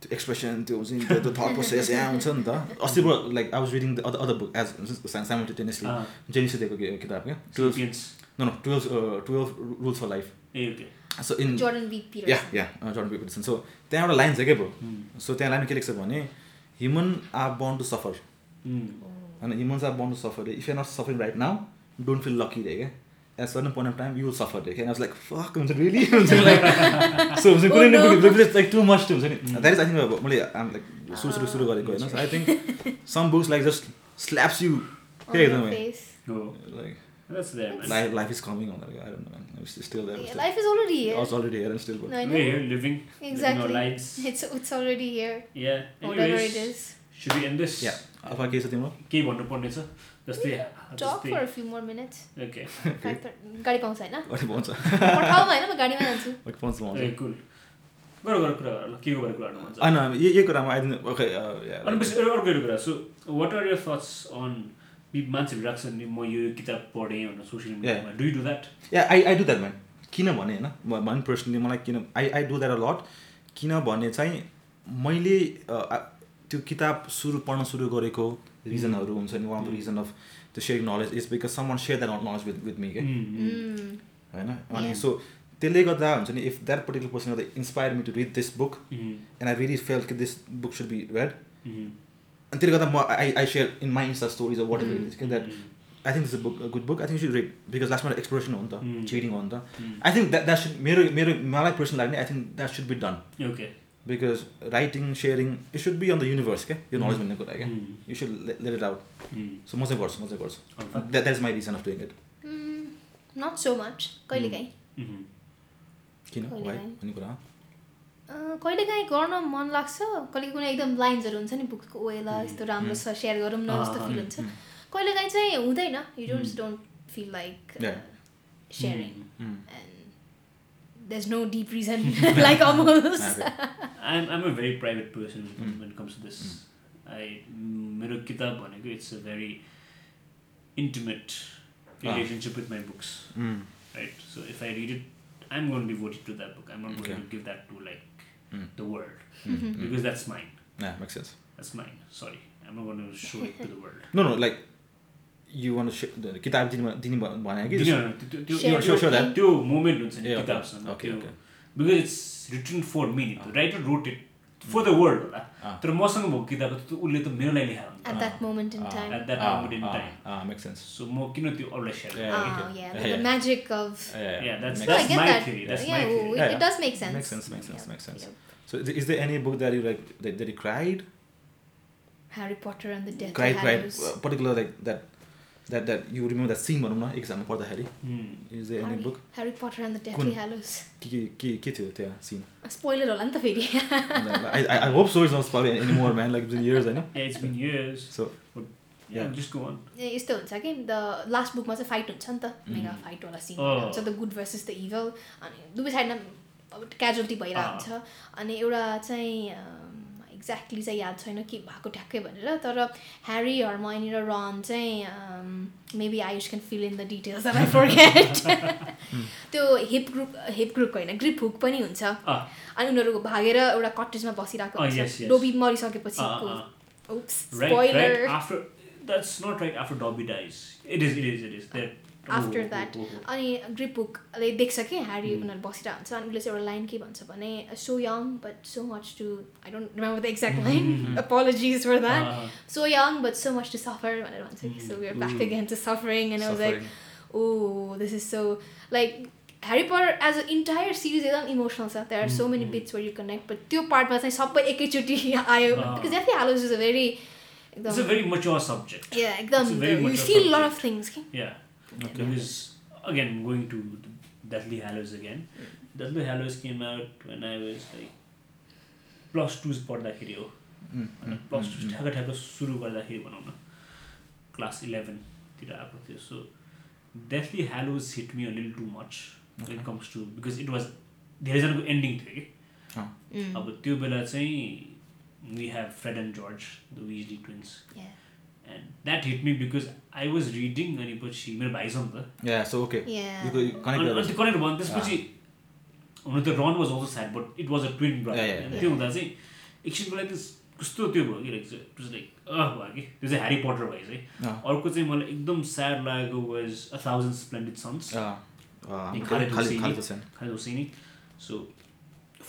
Speaker 2: त्यो एक्सप्रेसन त्यो हुन्छ नि त्यो त्यो थट प्रोसेस यहाँ हुन्छ नि त अस्ति पो like I was reading the other other book as simultaneously
Speaker 3: अँ,
Speaker 2: जेनिसले दिएको कि- किताब क्या twelve
Speaker 3: Philippines.
Speaker 2: No no twelve twelve rules for life
Speaker 3: ए, Eh, okay.
Speaker 2: So in
Speaker 1: Jordan B.
Speaker 2: Yeah
Speaker 1: Peterson.
Speaker 2: Yeah Jordan Peterson so त्यहाँ एउटा लाइन छ क्या ब्रो
Speaker 3: Hmm.
Speaker 2: सो त्यहाँ लाइन के लेख्छ भने human are born to suffer
Speaker 3: Hmm.
Speaker 2: होइन humans are born to suffer if you not suffering right now don't feel lucky रे क्या as certain point of time you suffer रे क्या लाइक फक हुन्छ रियली हुन्छ लाइक सो हुन्छ नि, कुनै न कुनै privilege लाइक टु मच हुन्छ नि द्याट इज आई थिङ्क मैले आम लाइक सुरु सुरु सुरु गरेको होइन I think some books like just slaps you
Speaker 1: On
Speaker 2: के
Speaker 1: your
Speaker 2: एकदमै
Speaker 1: face.
Speaker 3: No.
Speaker 2: Like
Speaker 3: That's there, man.
Speaker 2: Life life is coming भनेर I don't know man still
Speaker 1: Yeah,
Speaker 2: there
Speaker 1: life is already here.
Speaker 2: Was already here and still
Speaker 1: No, I know.
Speaker 3: We're here living, living our
Speaker 1: Exactly. *laughs*
Speaker 3: lives.
Speaker 1: It's it's already here.
Speaker 3: Yeah.
Speaker 1: Whatever it
Speaker 3: Anyways,
Speaker 1: is.
Speaker 3: should we end this?
Speaker 2: Yeah Alpha के छ तिम्रो
Speaker 3: केही भन्नुपर्ने छ जस्तै
Speaker 1: Talk
Speaker 3: जस्तै
Speaker 1: for a few more
Speaker 2: *laughs*
Speaker 1: minutes.
Speaker 3: Okay
Speaker 1: Fact that- गाडी पाउँछ होइन
Speaker 2: अरे पाउँछ
Speaker 1: पठाउमा होइन म गाडीमा जान्छु
Speaker 2: ओके पाउँछ पाउँछ
Speaker 3: ए कुल गर गर कुरा गर ल, के को गर कुरा गर्नु मन छ?
Speaker 2: होइन यो यो कुरामा आइदिनु ओके या
Speaker 3: अनि पछि अर्को एउटा कुरा so what are your thoughts on मान्छेहरू राख्छ नि म यो यो किताब पढेँ भनेर सोसियल मिडियामा do do that
Speaker 2: yeah I I do that man किनभने होइन म भन पर्सनली मलाई किन I I do that a lot किनभने चाहिँ मैले अ, आ- त्यो किताब सुरु पढ्न सुरु गरेको रिजनहरू हुन्छ नि one of the reason of त्यो share knowledge is because someone share that knowledge with with me के Hmm.
Speaker 1: Mm.
Speaker 2: होइन अनि
Speaker 1: Yeah.
Speaker 2: सो त्यसले गर्दा हुन्छ नि इफ द्याट पर्टिकुलर पर्सन गर्दा inspire me to read this book and I really feel कि this book should be read
Speaker 3: Mm-hmm.
Speaker 2: अनि त्यसले गर्दा म I I share in my insta stories whatever it is के that I think is a book good book I think should read because लास्टमा एक्सप्लोरेसन हो नि
Speaker 3: Mm.
Speaker 2: त चिटिङ हो नि त I think that that should मेरो मेरो मलाई पर्सन लाग्ने I think that should be done
Speaker 3: okay
Speaker 2: because writing sharing it should be on the universe क्या यो नलेज
Speaker 3: Mm.
Speaker 2: भन्ने कुरा क्या you should let it out
Speaker 3: Mm-hmm.
Speaker 2: So म चाहिँ गर्छु म चाहिँ गर्छु
Speaker 3: alpha
Speaker 2: that that is my reason of doing it
Speaker 1: Mm. Not so much.
Speaker 2: Hmm.
Speaker 1: कहिलेकाहीँ
Speaker 3: उम्,
Speaker 2: किन
Speaker 1: कहिले
Speaker 2: वाइ
Speaker 1: काहीँ।
Speaker 2: भन्ने कुरा
Speaker 1: अँ, कहिलेकाहीँ गर्न मन लाग्छ कहिले कुनै एकदम लाइन्सहरू हुन्छ नि बुकको ओएला
Speaker 3: Mm.
Speaker 1: यस्तो राम्रो
Speaker 2: Mm.
Speaker 1: छ सेयर गरौँ न
Speaker 3: अँ,
Speaker 1: जस्तो
Speaker 3: अँ,
Speaker 2: ah,
Speaker 1: फिल हुन्छ
Speaker 2: hmm.
Speaker 1: कहिलेकाहीँ चाहिँ हुँदैन you don't don't feel like
Speaker 2: Yeah.
Speaker 1: Sharing
Speaker 3: um,
Speaker 2: Hmm.
Speaker 1: And there's no deep reason
Speaker 2: *laughs*
Speaker 1: *laughs* like almost
Speaker 3: I'm I'm a very private person when-
Speaker 2: Mm.
Speaker 3: when it comes to this. I mm, मेरो किताब भनेको it's a very intimate
Speaker 2: Ah.
Speaker 3: Relationship with my books right? So if I read it, I'm going to be voted to that book. I'm not
Speaker 2: Okay.
Speaker 3: going to give that to like
Speaker 2: Mm.
Speaker 3: the world
Speaker 2: Mm-hmm.
Speaker 3: because that's mine.
Speaker 2: Make sense
Speaker 3: That's mine. Sorry, I'm not going to show it to the world.
Speaker 2: No no like you want किताब दिने दिने भ- भने कि
Speaker 3: No, no, no, त्यो- त्यो-
Speaker 1: Share
Speaker 3: त्यो-
Speaker 2: it. Sure, sure,
Speaker 3: त्यो moment हुन्छ नि
Speaker 2: ए
Speaker 3: किताबसँग,
Speaker 2: ओके
Speaker 3: त्यो-
Speaker 2: okay
Speaker 3: because it's written for me. The writer wrote it for the world होला
Speaker 2: Ah.
Speaker 3: तर मसँग भएको किताब त उसले त मेरो लागि लेखा हुन्छ
Speaker 1: at that moment in
Speaker 2: Ah.
Speaker 1: time
Speaker 3: at that moment in time
Speaker 2: make sense
Speaker 3: so म किन त्यो अरूलाई share
Speaker 2: Yeah,
Speaker 1: oh
Speaker 2: okay.
Speaker 1: yeah,
Speaker 2: Yeah,
Speaker 1: the
Speaker 2: yeah.
Speaker 1: magic of
Speaker 3: yeah that's
Speaker 1: No, I
Speaker 3: that's
Speaker 1: get
Speaker 3: my
Speaker 1: that.
Speaker 3: theory that's
Speaker 1: yeah,
Speaker 3: my theory
Speaker 1: it,
Speaker 2: Yeah,
Speaker 1: it
Speaker 2: yeah.
Speaker 1: does make sense
Speaker 2: Makes sense, makes sense,
Speaker 1: Yeah,
Speaker 2: makes sense.
Speaker 1: yeah.
Speaker 2: So th- is there any book that you like that, that you cried?
Speaker 1: Harry Potter and the Deathly
Speaker 2: Cried, cried.
Speaker 1: Hallows
Speaker 2: uh, Particular like that, that that you remember that scene भनौँ न एक्जाममा पढ्दाखेरि
Speaker 3: Hmm.
Speaker 2: Is there any
Speaker 1: Harry-
Speaker 2: book
Speaker 1: Harry Potter and the Deathly Hallows
Speaker 2: के के के के थियो त्यहाँ
Speaker 1: *laughs*
Speaker 2: सिन
Speaker 1: स्पोइलर होला नि त फेरि
Speaker 2: I I hope so is not spoil any more man like been years हैन
Speaker 3: Yeah, it's been years
Speaker 2: so
Speaker 3: yeah,
Speaker 2: Yeah.
Speaker 3: just go on
Speaker 1: ए, यस्तो हुन्छ कि द लास्ट बुकमा चाहिँ फाइट हुन्छ नि त मेगा फाइटवाला सिन
Speaker 3: Mm. अँ।
Speaker 1: हुन्छ the good versus the evil अनि दुवै साइडमा अब क्याजुअल्टी भइरहेको
Speaker 3: अँ।
Speaker 1: हुन्छ अनि एउटा चाहिँ एक्ज्याक्टली चाहिँ याद छैन के भएको ठ्याक्कै भनेर तर ह्यारी हर्माइनी र रन चाहिँ maybe Ayush can fill in the details
Speaker 3: *laughs*
Speaker 1: I forget
Speaker 3: Hmm.
Speaker 1: त्यो हिप ग्रुप हिप ग्रुपको होइन ग्रिप हुक पनि हुन्छ
Speaker 3: अँ।
Speaker 1: अनि उनीहरू भागेर एउटा कटेजमा बसिरहेको
Speaker 3: अँ, yes,
Speaker 1: हुन्छ
Speaker 3: yes.
Speaker 1: डोबी
Speaker 3: Uh,
Speaker 1: मरिसकेपछि
Speaker 3: uh, right, right
Speaker 1: spoiler
Speaker 3: after that's not right after Dobby dies. It is, it is, it is. That
Speaker 1: After that.
Speaker 3: oh, oh.
Speaker 1: अनि ग्रिपुकले देख्छ कि ह्यारी
Speaker 3: Hmm.
Speaker 1: उनीहरू बसिरहेको हुन्छ अनि उसले चाहिँ एउटा लाइन के भन्छ भने so young but so much to I don't remember the exact line
Speaker 3: Hmm.
Speaker 1: Apologies for that
Speaker 3: Uh,
Speaker 1: so young but so much to suffer भनेर भन्छ कि so we
Speaker 3: Hmm.
Speaker 1: Back again to suffering and I like oh this is so like Harry Potter as a entire series एकदम इमोसनल छ there are so many
Speaker 3: Hmm.
Speaker 1: Bits where you connect but त्यो पार्टमा चाहिँ सबै एकैचोटि *laughs* आयो
Speaker 3: अँ।
Speaker 1: Because that Hallows is a very
Speaker 3: Ah. it's a
Speaker 1: एकदम
Speaker 3: very mature subject.
Speaker 1: Yeah, एकदम
Speaker 3: it's a very
Speaker 1: you
Speaker 3: mature
Speaker 1: feel lot of things कि
Speaker 3: Yeah.
Speaker 2: Okay.
Speaker 3: Because again, going to Deathly Hallows again. Deathly Hallows came out when I was like plus two's पढ्दाखेरि हो प्लस टू ठ्याक्क ठ्याक्क सुरु गर्दाखेरि भनौँ न क्लास इलेभेनतिर आएको थियो so Deathly Hallows hit me a lil too much it comes to because it was धेरैजनाको एन्डिङ थियो कि
Speaker 1: Mm.
Speaker 3: अब त्यो बेला चाहिँ we have Fred and George the Weasley twins
Speaker 1: Yeah.
Speaker 3: And that hit me because I was reading अनि पछि मेरो भाइ छ नि त
Speaker 2: या so okay
Speaker 1: Yeah.
Speaker 2: You connect
Speaker 3: अनि- अनि त्यो कनेक्ट भयो अनि त्यसपछि हुन त Ron was also sad but it was a twin
Speaker 2: Yeah, yeah,
Speaker 3: brother
Speaker 2: yeah.
Speaker 3: त्यो हुँदा चाहिँ एकछिनको लागि त्यस- कस्तो त्यो भयो कि लाइक अह भयो कि त्यो चाहिँ ह्यारी पटर भयो है अर्को चाहिँ मलाई एकदम स्याड लागेको was a Thousand Splendid Suns
Speaker 2: Ah, खाली
Speaker 3: एक खाली
Speaker 2: खाली
Speaker 3: हुसैनी।
Speaker 2: खाली त छैन
Speaker 3: खालि हुसैनी सो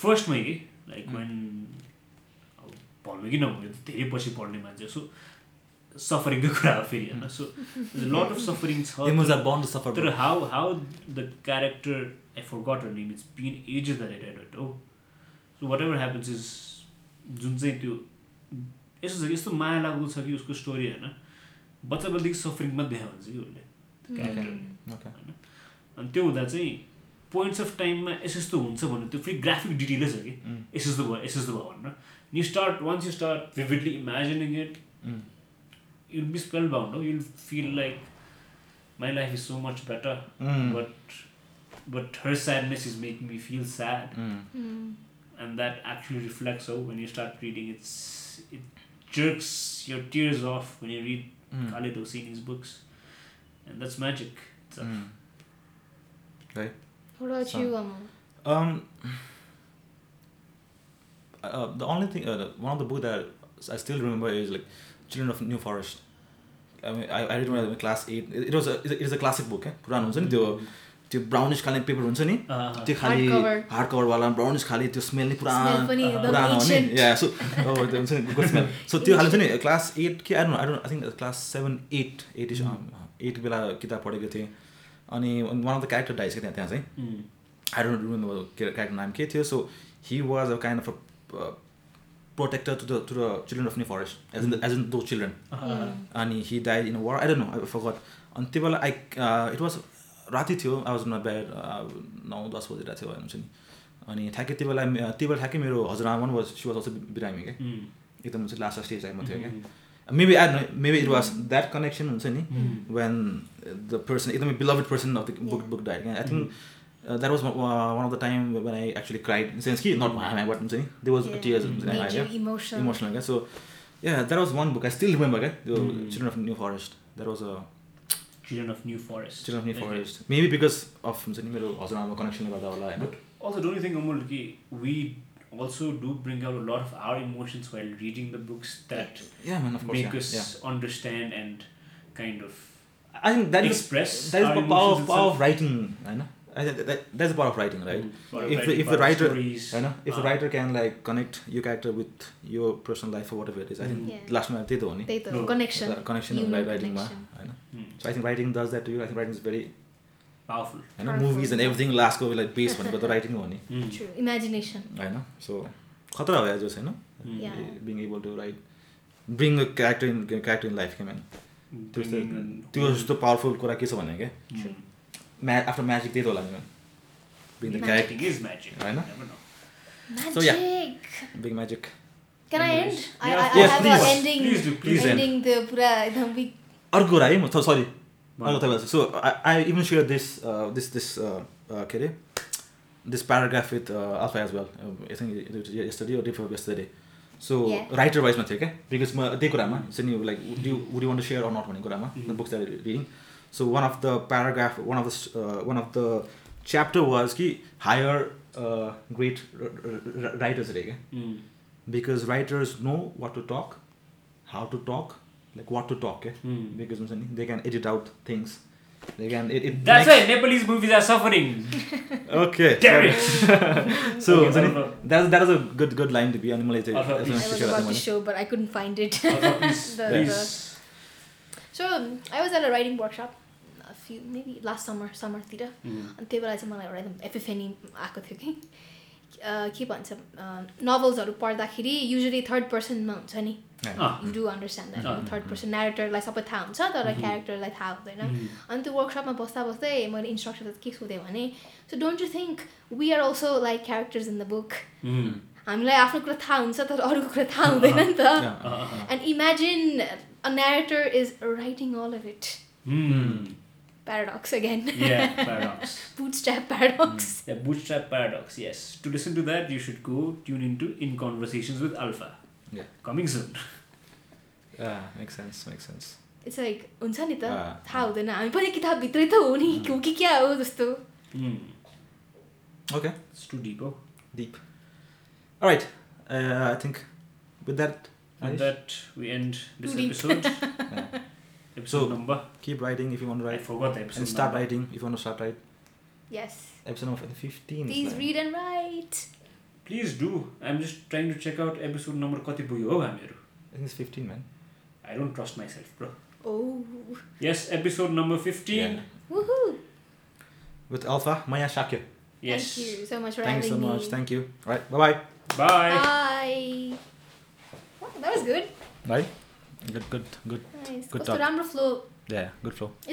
Speaker 3: फर्स्टमै कि लाइक
Speaker 2: Mm.
Speaker 3: वेन अब भन्नु कि नभन्नु यो त धेरै पछि पढ्ने मान्छे सो सफरिङको कुरा हो फेरि होइन सो लट अफ सफरिङ छ
Speaker 2: *laughs* It must have bound to suffer.
Speaker 3: तर how how the character I forgot name it's been as the read it हो so whatever happens is जुन चाहिँ त्यो यस्तो छ कि यस्तो माया लाग्दो छ कि उसको स्टोरी होइन बच्चा बच्चादेखि सफरिङमा देखाएको हुन्छ कि उसले
Speaker 1: Hmm.
Speaker 3: क्यारेक्टरले
Speaker 2: Okay.
Speaker 3: अनि त्यो हुँदा चाहिँ पोइन्ट्स अफ टाइममा यस यस्तो हुन्छ भन्नु त्यो फेरि ग्राफिक डिटेलै छ कि
Speaker 2: Mm.
Speaker 3: यस यस्तो भयो यस यस्तो भयो भनेर you start once you start vividly imagining it
Speaker 2: Mm.
Speaker 3: You'll be spellbound हो you'll feel like my life is so much better
Speaker 2: Mm.
Speaker 3: But but her sadness is making me feel sad
Speaker 2: Mm.
Speaker 3: And that actually reflects हो when you start reading it's it jerks your tears off when you read
Speaker 2: Mm.
Speaker 3: Khaled Hosseini is books and that's magic
Speaker 2: Mm.
Speaker 1: What about you, Amal?
Speaker 2: Um, uh, the only thing, uh, the- one of the book that I still remember is like Children of New Forest. I mean, I, I read when I was in class 8. It, it was a, it is a classic book, eh? पुरानो हुन्छ नि त्यो त्यो ब्राउनिस खाले पेपर हुन्छ नि
Speaker 3: Uh-huh.
Speaker 2: त्यो खालि
Speaker 1: Hardcover.
Speaker 2: हार्ड कभरवाला ब्राउनिस खालि त्यो स्मेल नै पुरा
Speaker 1: Smell पनि एकदम
Speaker 2: पुरानो हो नि
Speaker 1: ancient.
Speaker 2: या सो त्यो हुन्छ नि गुड स्मेल सो त्यो खालि हुन्छ नि क्लास एट कि आएर आएर I think class seven eight eight is
Speaker 1: Hmm.
Speaker 2: Eight um, बेला किताब पढेको थिएँ अनि one of the character dies क्या त्यहाँ त्यहाँ चाहिँ
Speaker 3: Hmm.
Speaker 2: I don't remember the char- character name Kate here. So he was a kind of a uh, protector to the to the children of New Forest, as in the, as in those children.
Speaker 1: Uh-huh. Mm.
Speaker 2: And he died in a war. I don't know. I forgot. Until well, I uh, it was राति थियो आई वाज मा ब्याड नौ दस बजेर थियो हुन्छ नि अनि ठ्याक्कै त्यो बेला मे- त्यो बेला ठ्याक्कै मेरो हजुरआमा पनि was- she was also बिरामी क्या
Speaker 3: Hmm.
Speaker 2: एकदम हुन्छ लास्ट स्टेज टाइममा थियो
Speaker 3: Mm-hmm.
Speaker 2: क्या maybe I maybe it was that connection हुन्छ नि
Speaker 3: Hmm.
Speaker 2: when the person, एकदमै beloved person of the book,
Speaker 1: Yeah.
Speaker 2: book died.
Speaker 3: Mm-hmm.
Speaker 2: I think uh, that was one, uh, one of the time when I actually cried. In sense, कि not my but हुन्छ नि, there was
Speaker 1: Yeah.
Speaker 2: tears
Speaker 3: Mm.
Speaker 2: हुन्छ नि,
Speaker 1: Major
Speaker 2: आयो,
Speaker 1: emotional.
Speaker 2: emotional. क्या? So yeah, that was one book I still remember. क्या? The
Speaker 3: Mm.
Speaker 2: Children of New Forest. That was a
Speaker 3: Children of New Forest
Speaker 2: Children of New Forest. Maybe because of हुन्छ नि मेरो हजुरआमाको कनेक्सनले गर्दा होला होइन?
Speaker 3: But also, don't you think, Amol, ki we also do bring out a lot of our emotions while reading the books that
Speaker 2: Yeah, man, of course.
Speaker 3: make
Speaker 2: Yeah.
Speaker 3: us
Speaker 2: yeah.
Speaker 3: understand and kind of
Speaker 2: I think that is
Speaker 3: express
Speaker 2: that is
Speaker 3: our
Speaker 2: the power of
Speaker 3: emotions
Speaker 2: power of
Speaker 3: itself.
Speaker 2: writing. होइन? I know. That, that, that's the power of writing, right?
Speaker 3: Or
Speaker 2: If the-
Speaker 3: writing
Speaker 2: if the
Speaker 3: about
Speaker 2: writer-
Speaker 3: stories.
Speaker 2: होइन if
Speaker 3: Ah.
Speaker 2: Writer can like connect यो क्यारेक्टर विथ यो personal life what
Speaker 3: Mm.
Speaker 2: Ever it is I think
Speaker 1: Yeah.
Speaker 2: लास्टमा त्यही त हो नि
Speaker 1: त्यही त
Speaker 3: No.
Speaker 1: कनेक्सन
Speaker 2: कनेक्सन
Speaker 1: Human
Speaker 2: राइटिङमा
Speaker 1: connection.
Speaker 2: होइन
Speaker 3: Hmm.
Speaker 2: So I think writing does that you I think writing is very
Speaker 3: Powerful.
Speaker 2: होइन
Speaker 1: Powerful.
Speaker 2: मुभिज एन्ड एभ्रिथिङ लास्टको लाइक बेस भनेको त राइटिङ हो नि
Speaker 3: Mm.
Speaker 1: ट्रु इमेजिनेसन
Speaker 2: होइन सो खतरा हो एज होइन
Speaker 3: Mm.
Speaker 1: Yeah.
Speaker 2: Being able to write bring a character in character in life के म्यान त्यो
Speaker 3: Bringing in-
Speaker 2: त्यो जस्तो पावरफुल कुरा के छ भने क्या
Speaker 3: Mm.
Speaker 1: True.
Speaker 2: म्या आफ्टर म्याजिक त्यही त होला नि being the character
Speaker 3: Magic is magic.
Speaker 2: I know.
Speaker 3: You never know.
Speaker 1: Magic
Speaker 2: So, yeah. Being magic
Speaker 1: Can I end?
Speaker 3: Yes.
Speaker 1: I,
Speaker 3: Yeah,
Speaker 1: I,
Speaker 3: of
Speaker 1: I
Speaker 2: course.
Speaker 1: have
Speaker 2: Please.
Speaker 1: a ending.
Speaker 3: Please do,
Speaker 2: please end.
Speaker 1: ending the pura एकदम big.
Speaker 2: अर्को कुरा है म सरी
Speaker 3: Wow.
Speaker 2: अर्को तपाईँलाई so I I even share this this this के अरे this paragraph with Alpha as well I think yesterday refer yesterday so
Speaker 1: Yeah.
Speaker 2: Writer वाइजमा थियो क्या बिकज म त्यही कुरामा चाहिँ नि like do would want to share or not भन्ने कुरामा
Speaker 3: Mhm.
Speaker 2: Books that reading so one of the paragraph one of the one of the chapter was कि हायर ग्रेट राइटर्स अरे क्या
Speaker 3: Mm.
Speaker 2: Because writers know what to talk how to talk like what to talk क्या
Speaker 3: Mm.
Speaker 2: because हुन्छ नि they can edit out things they can it, it
Speaker 3: That's
Speaker 2: makes-
Speaker 3: why Nepalese movies are suffering.
Speaker 2: okay
Speaker 3: Damn
Speaker 2: *laughs*
Speaker 3: it.
Speaker 1: *laughs*
Speaker 2: so
Speaker 3: Okay,
Speaker 2: हुन्छ नि
Speaker 3: well,
Speaker 2: that that is a good good line to be अनि मलाई चाहिँ
Speaker 3: Alpha,
Speaker 2: यसमा
Speaker 1: I was
Speaker 2: खुसी लाग्यो
Speaker 1: about to
Speaker 2: मलाई।
Speaker 1: show but I couldn't find it.
Speaker 3: Also, Oh,
Speaker 1: *laughs*
Speaker 3: please,
Speaker 1: The-
Speaker 3: please.
Speaker 1: So I was at a writing workshop a few maybe last summer summerतिर
Speaker 3: Mm.
Speaker 1: अनि त्यही बेला चाहिँ मलाई एउटा एकदम एपिफेनी आएको थियो कि अ, के भन्छ uh, नोभल्सहरू पढ्दाखेरि युजली थर्ड पर्सनमा हुन्छ नि
Speaker 3: Ah.
Speaker 1: You do understand that
Speaker 3: अँ।
Speaker 1: थर्ड पर्सन नेरेटरलाई सबै थाहा हुन्छ तर
Speaker 2: Mm-hmm.
Speaker 3: Mhm.
Speaker 1: क्यारेक्टरलाई थाहा हुँदैन
Speaker 3: Mm.
Speaker 1: अनि त्यो वर्कसपमा बस्दा बस्दै मैले इन्स्ट्रक्टर के सोधेँ भने so don't you think we are also like characters in the book
Speaker 3: Mm.
Speaker 1: हामीलाई आफ्नो कुरा थाहा हुन्छ तर अरूको कुरा थाहा हुँदैन नि त
Speaker 2: Yeah.
Speaker 3: Uh, uh, uh.
Speaker 1: And imagine a narrator is writing all of it
Speaker 3: Mm.
Speaker 1: Paradox again *laughs*
Speaker 3: Yeah, paradox.
Speaker 1: Bootstrap paradox
Speaker 2: Mm.
Speaker 3: The bootstrap paradox, yes. To listen to that, you should go tune into In Conversations with Alpha.
Speaker 2: Yeah.
Speaker 3: Coming soon.
Speaker 2: Yeah, makes sense, makes sense.
Speaker 1: It's like हुन्छ नि त
Speaker 2: अँ।
Speaker 1: थाहा हुँदैन हामी पनि किताबभित्रै त हो नि
Speaker 2: Mm.
Speaker 1: हो कि क्या हो जस्तो
Speaker 3: Mm.
Speaker 2: Okay,
Speaker 3: It's too deep, oh.
Speaker 2: deep. All right, uh, I think with that
Speaker 3: With
Speaker 2: Harish,
Speaker 3: that, we end this
Speaker 1: Toodles.
Speaker 3: episode.
Speaker 1: *laughs*
Speaker 2: Yeah.
Speaker 3: Episode
Speaker 2: So-
Speaker 3: number.
Speaker 2: keep writing if you want to
Speaker 3: I
Speaker 2: write
Speaker 3: forgot the episode.
Speaker 2: and start
Speaker 3: number.
Speaker 2: writing if you want to start write
Speaker 1: Yes.
Speaker 2: episode number 15 is
Speaker 1: Please
Speaker 2: like-
Speaker 1: read and write.
Speaker 3: Please do. I'm just trying to check out episode number कति पुग्यो हो हामीहरू.
Speaker 2: I think it's 15 man
Speaker 3: I don't trust myself, bro.
Speaker 1: Oh.
Speaker 3: Yes, episode number 15.
Speaker 2: Yeah.
Speaker 1: Woohoo.
Speaker 2: with Alpha Maya Shakya
Speaker 3: Yes.
Speaker 1: Thank you so much for
Speaker 2: thank you
Speaker 1: having
Speaker 2: so
Speaker 1: me.
Speaker 2: much thank you all right bye bye
Speaker 3: Bye.
Speaker 1: Bye. Wow, that was good.
Speaker 2: Right? Good, good, good.
Speaker 1: Nice.
Speaker 2: Good
Speaker 1: कस्तो
Speaker 2: talk.
Speaker 1: राम्रो flow
Speaker 2: Yeah, good flow.
Speaker 1: It's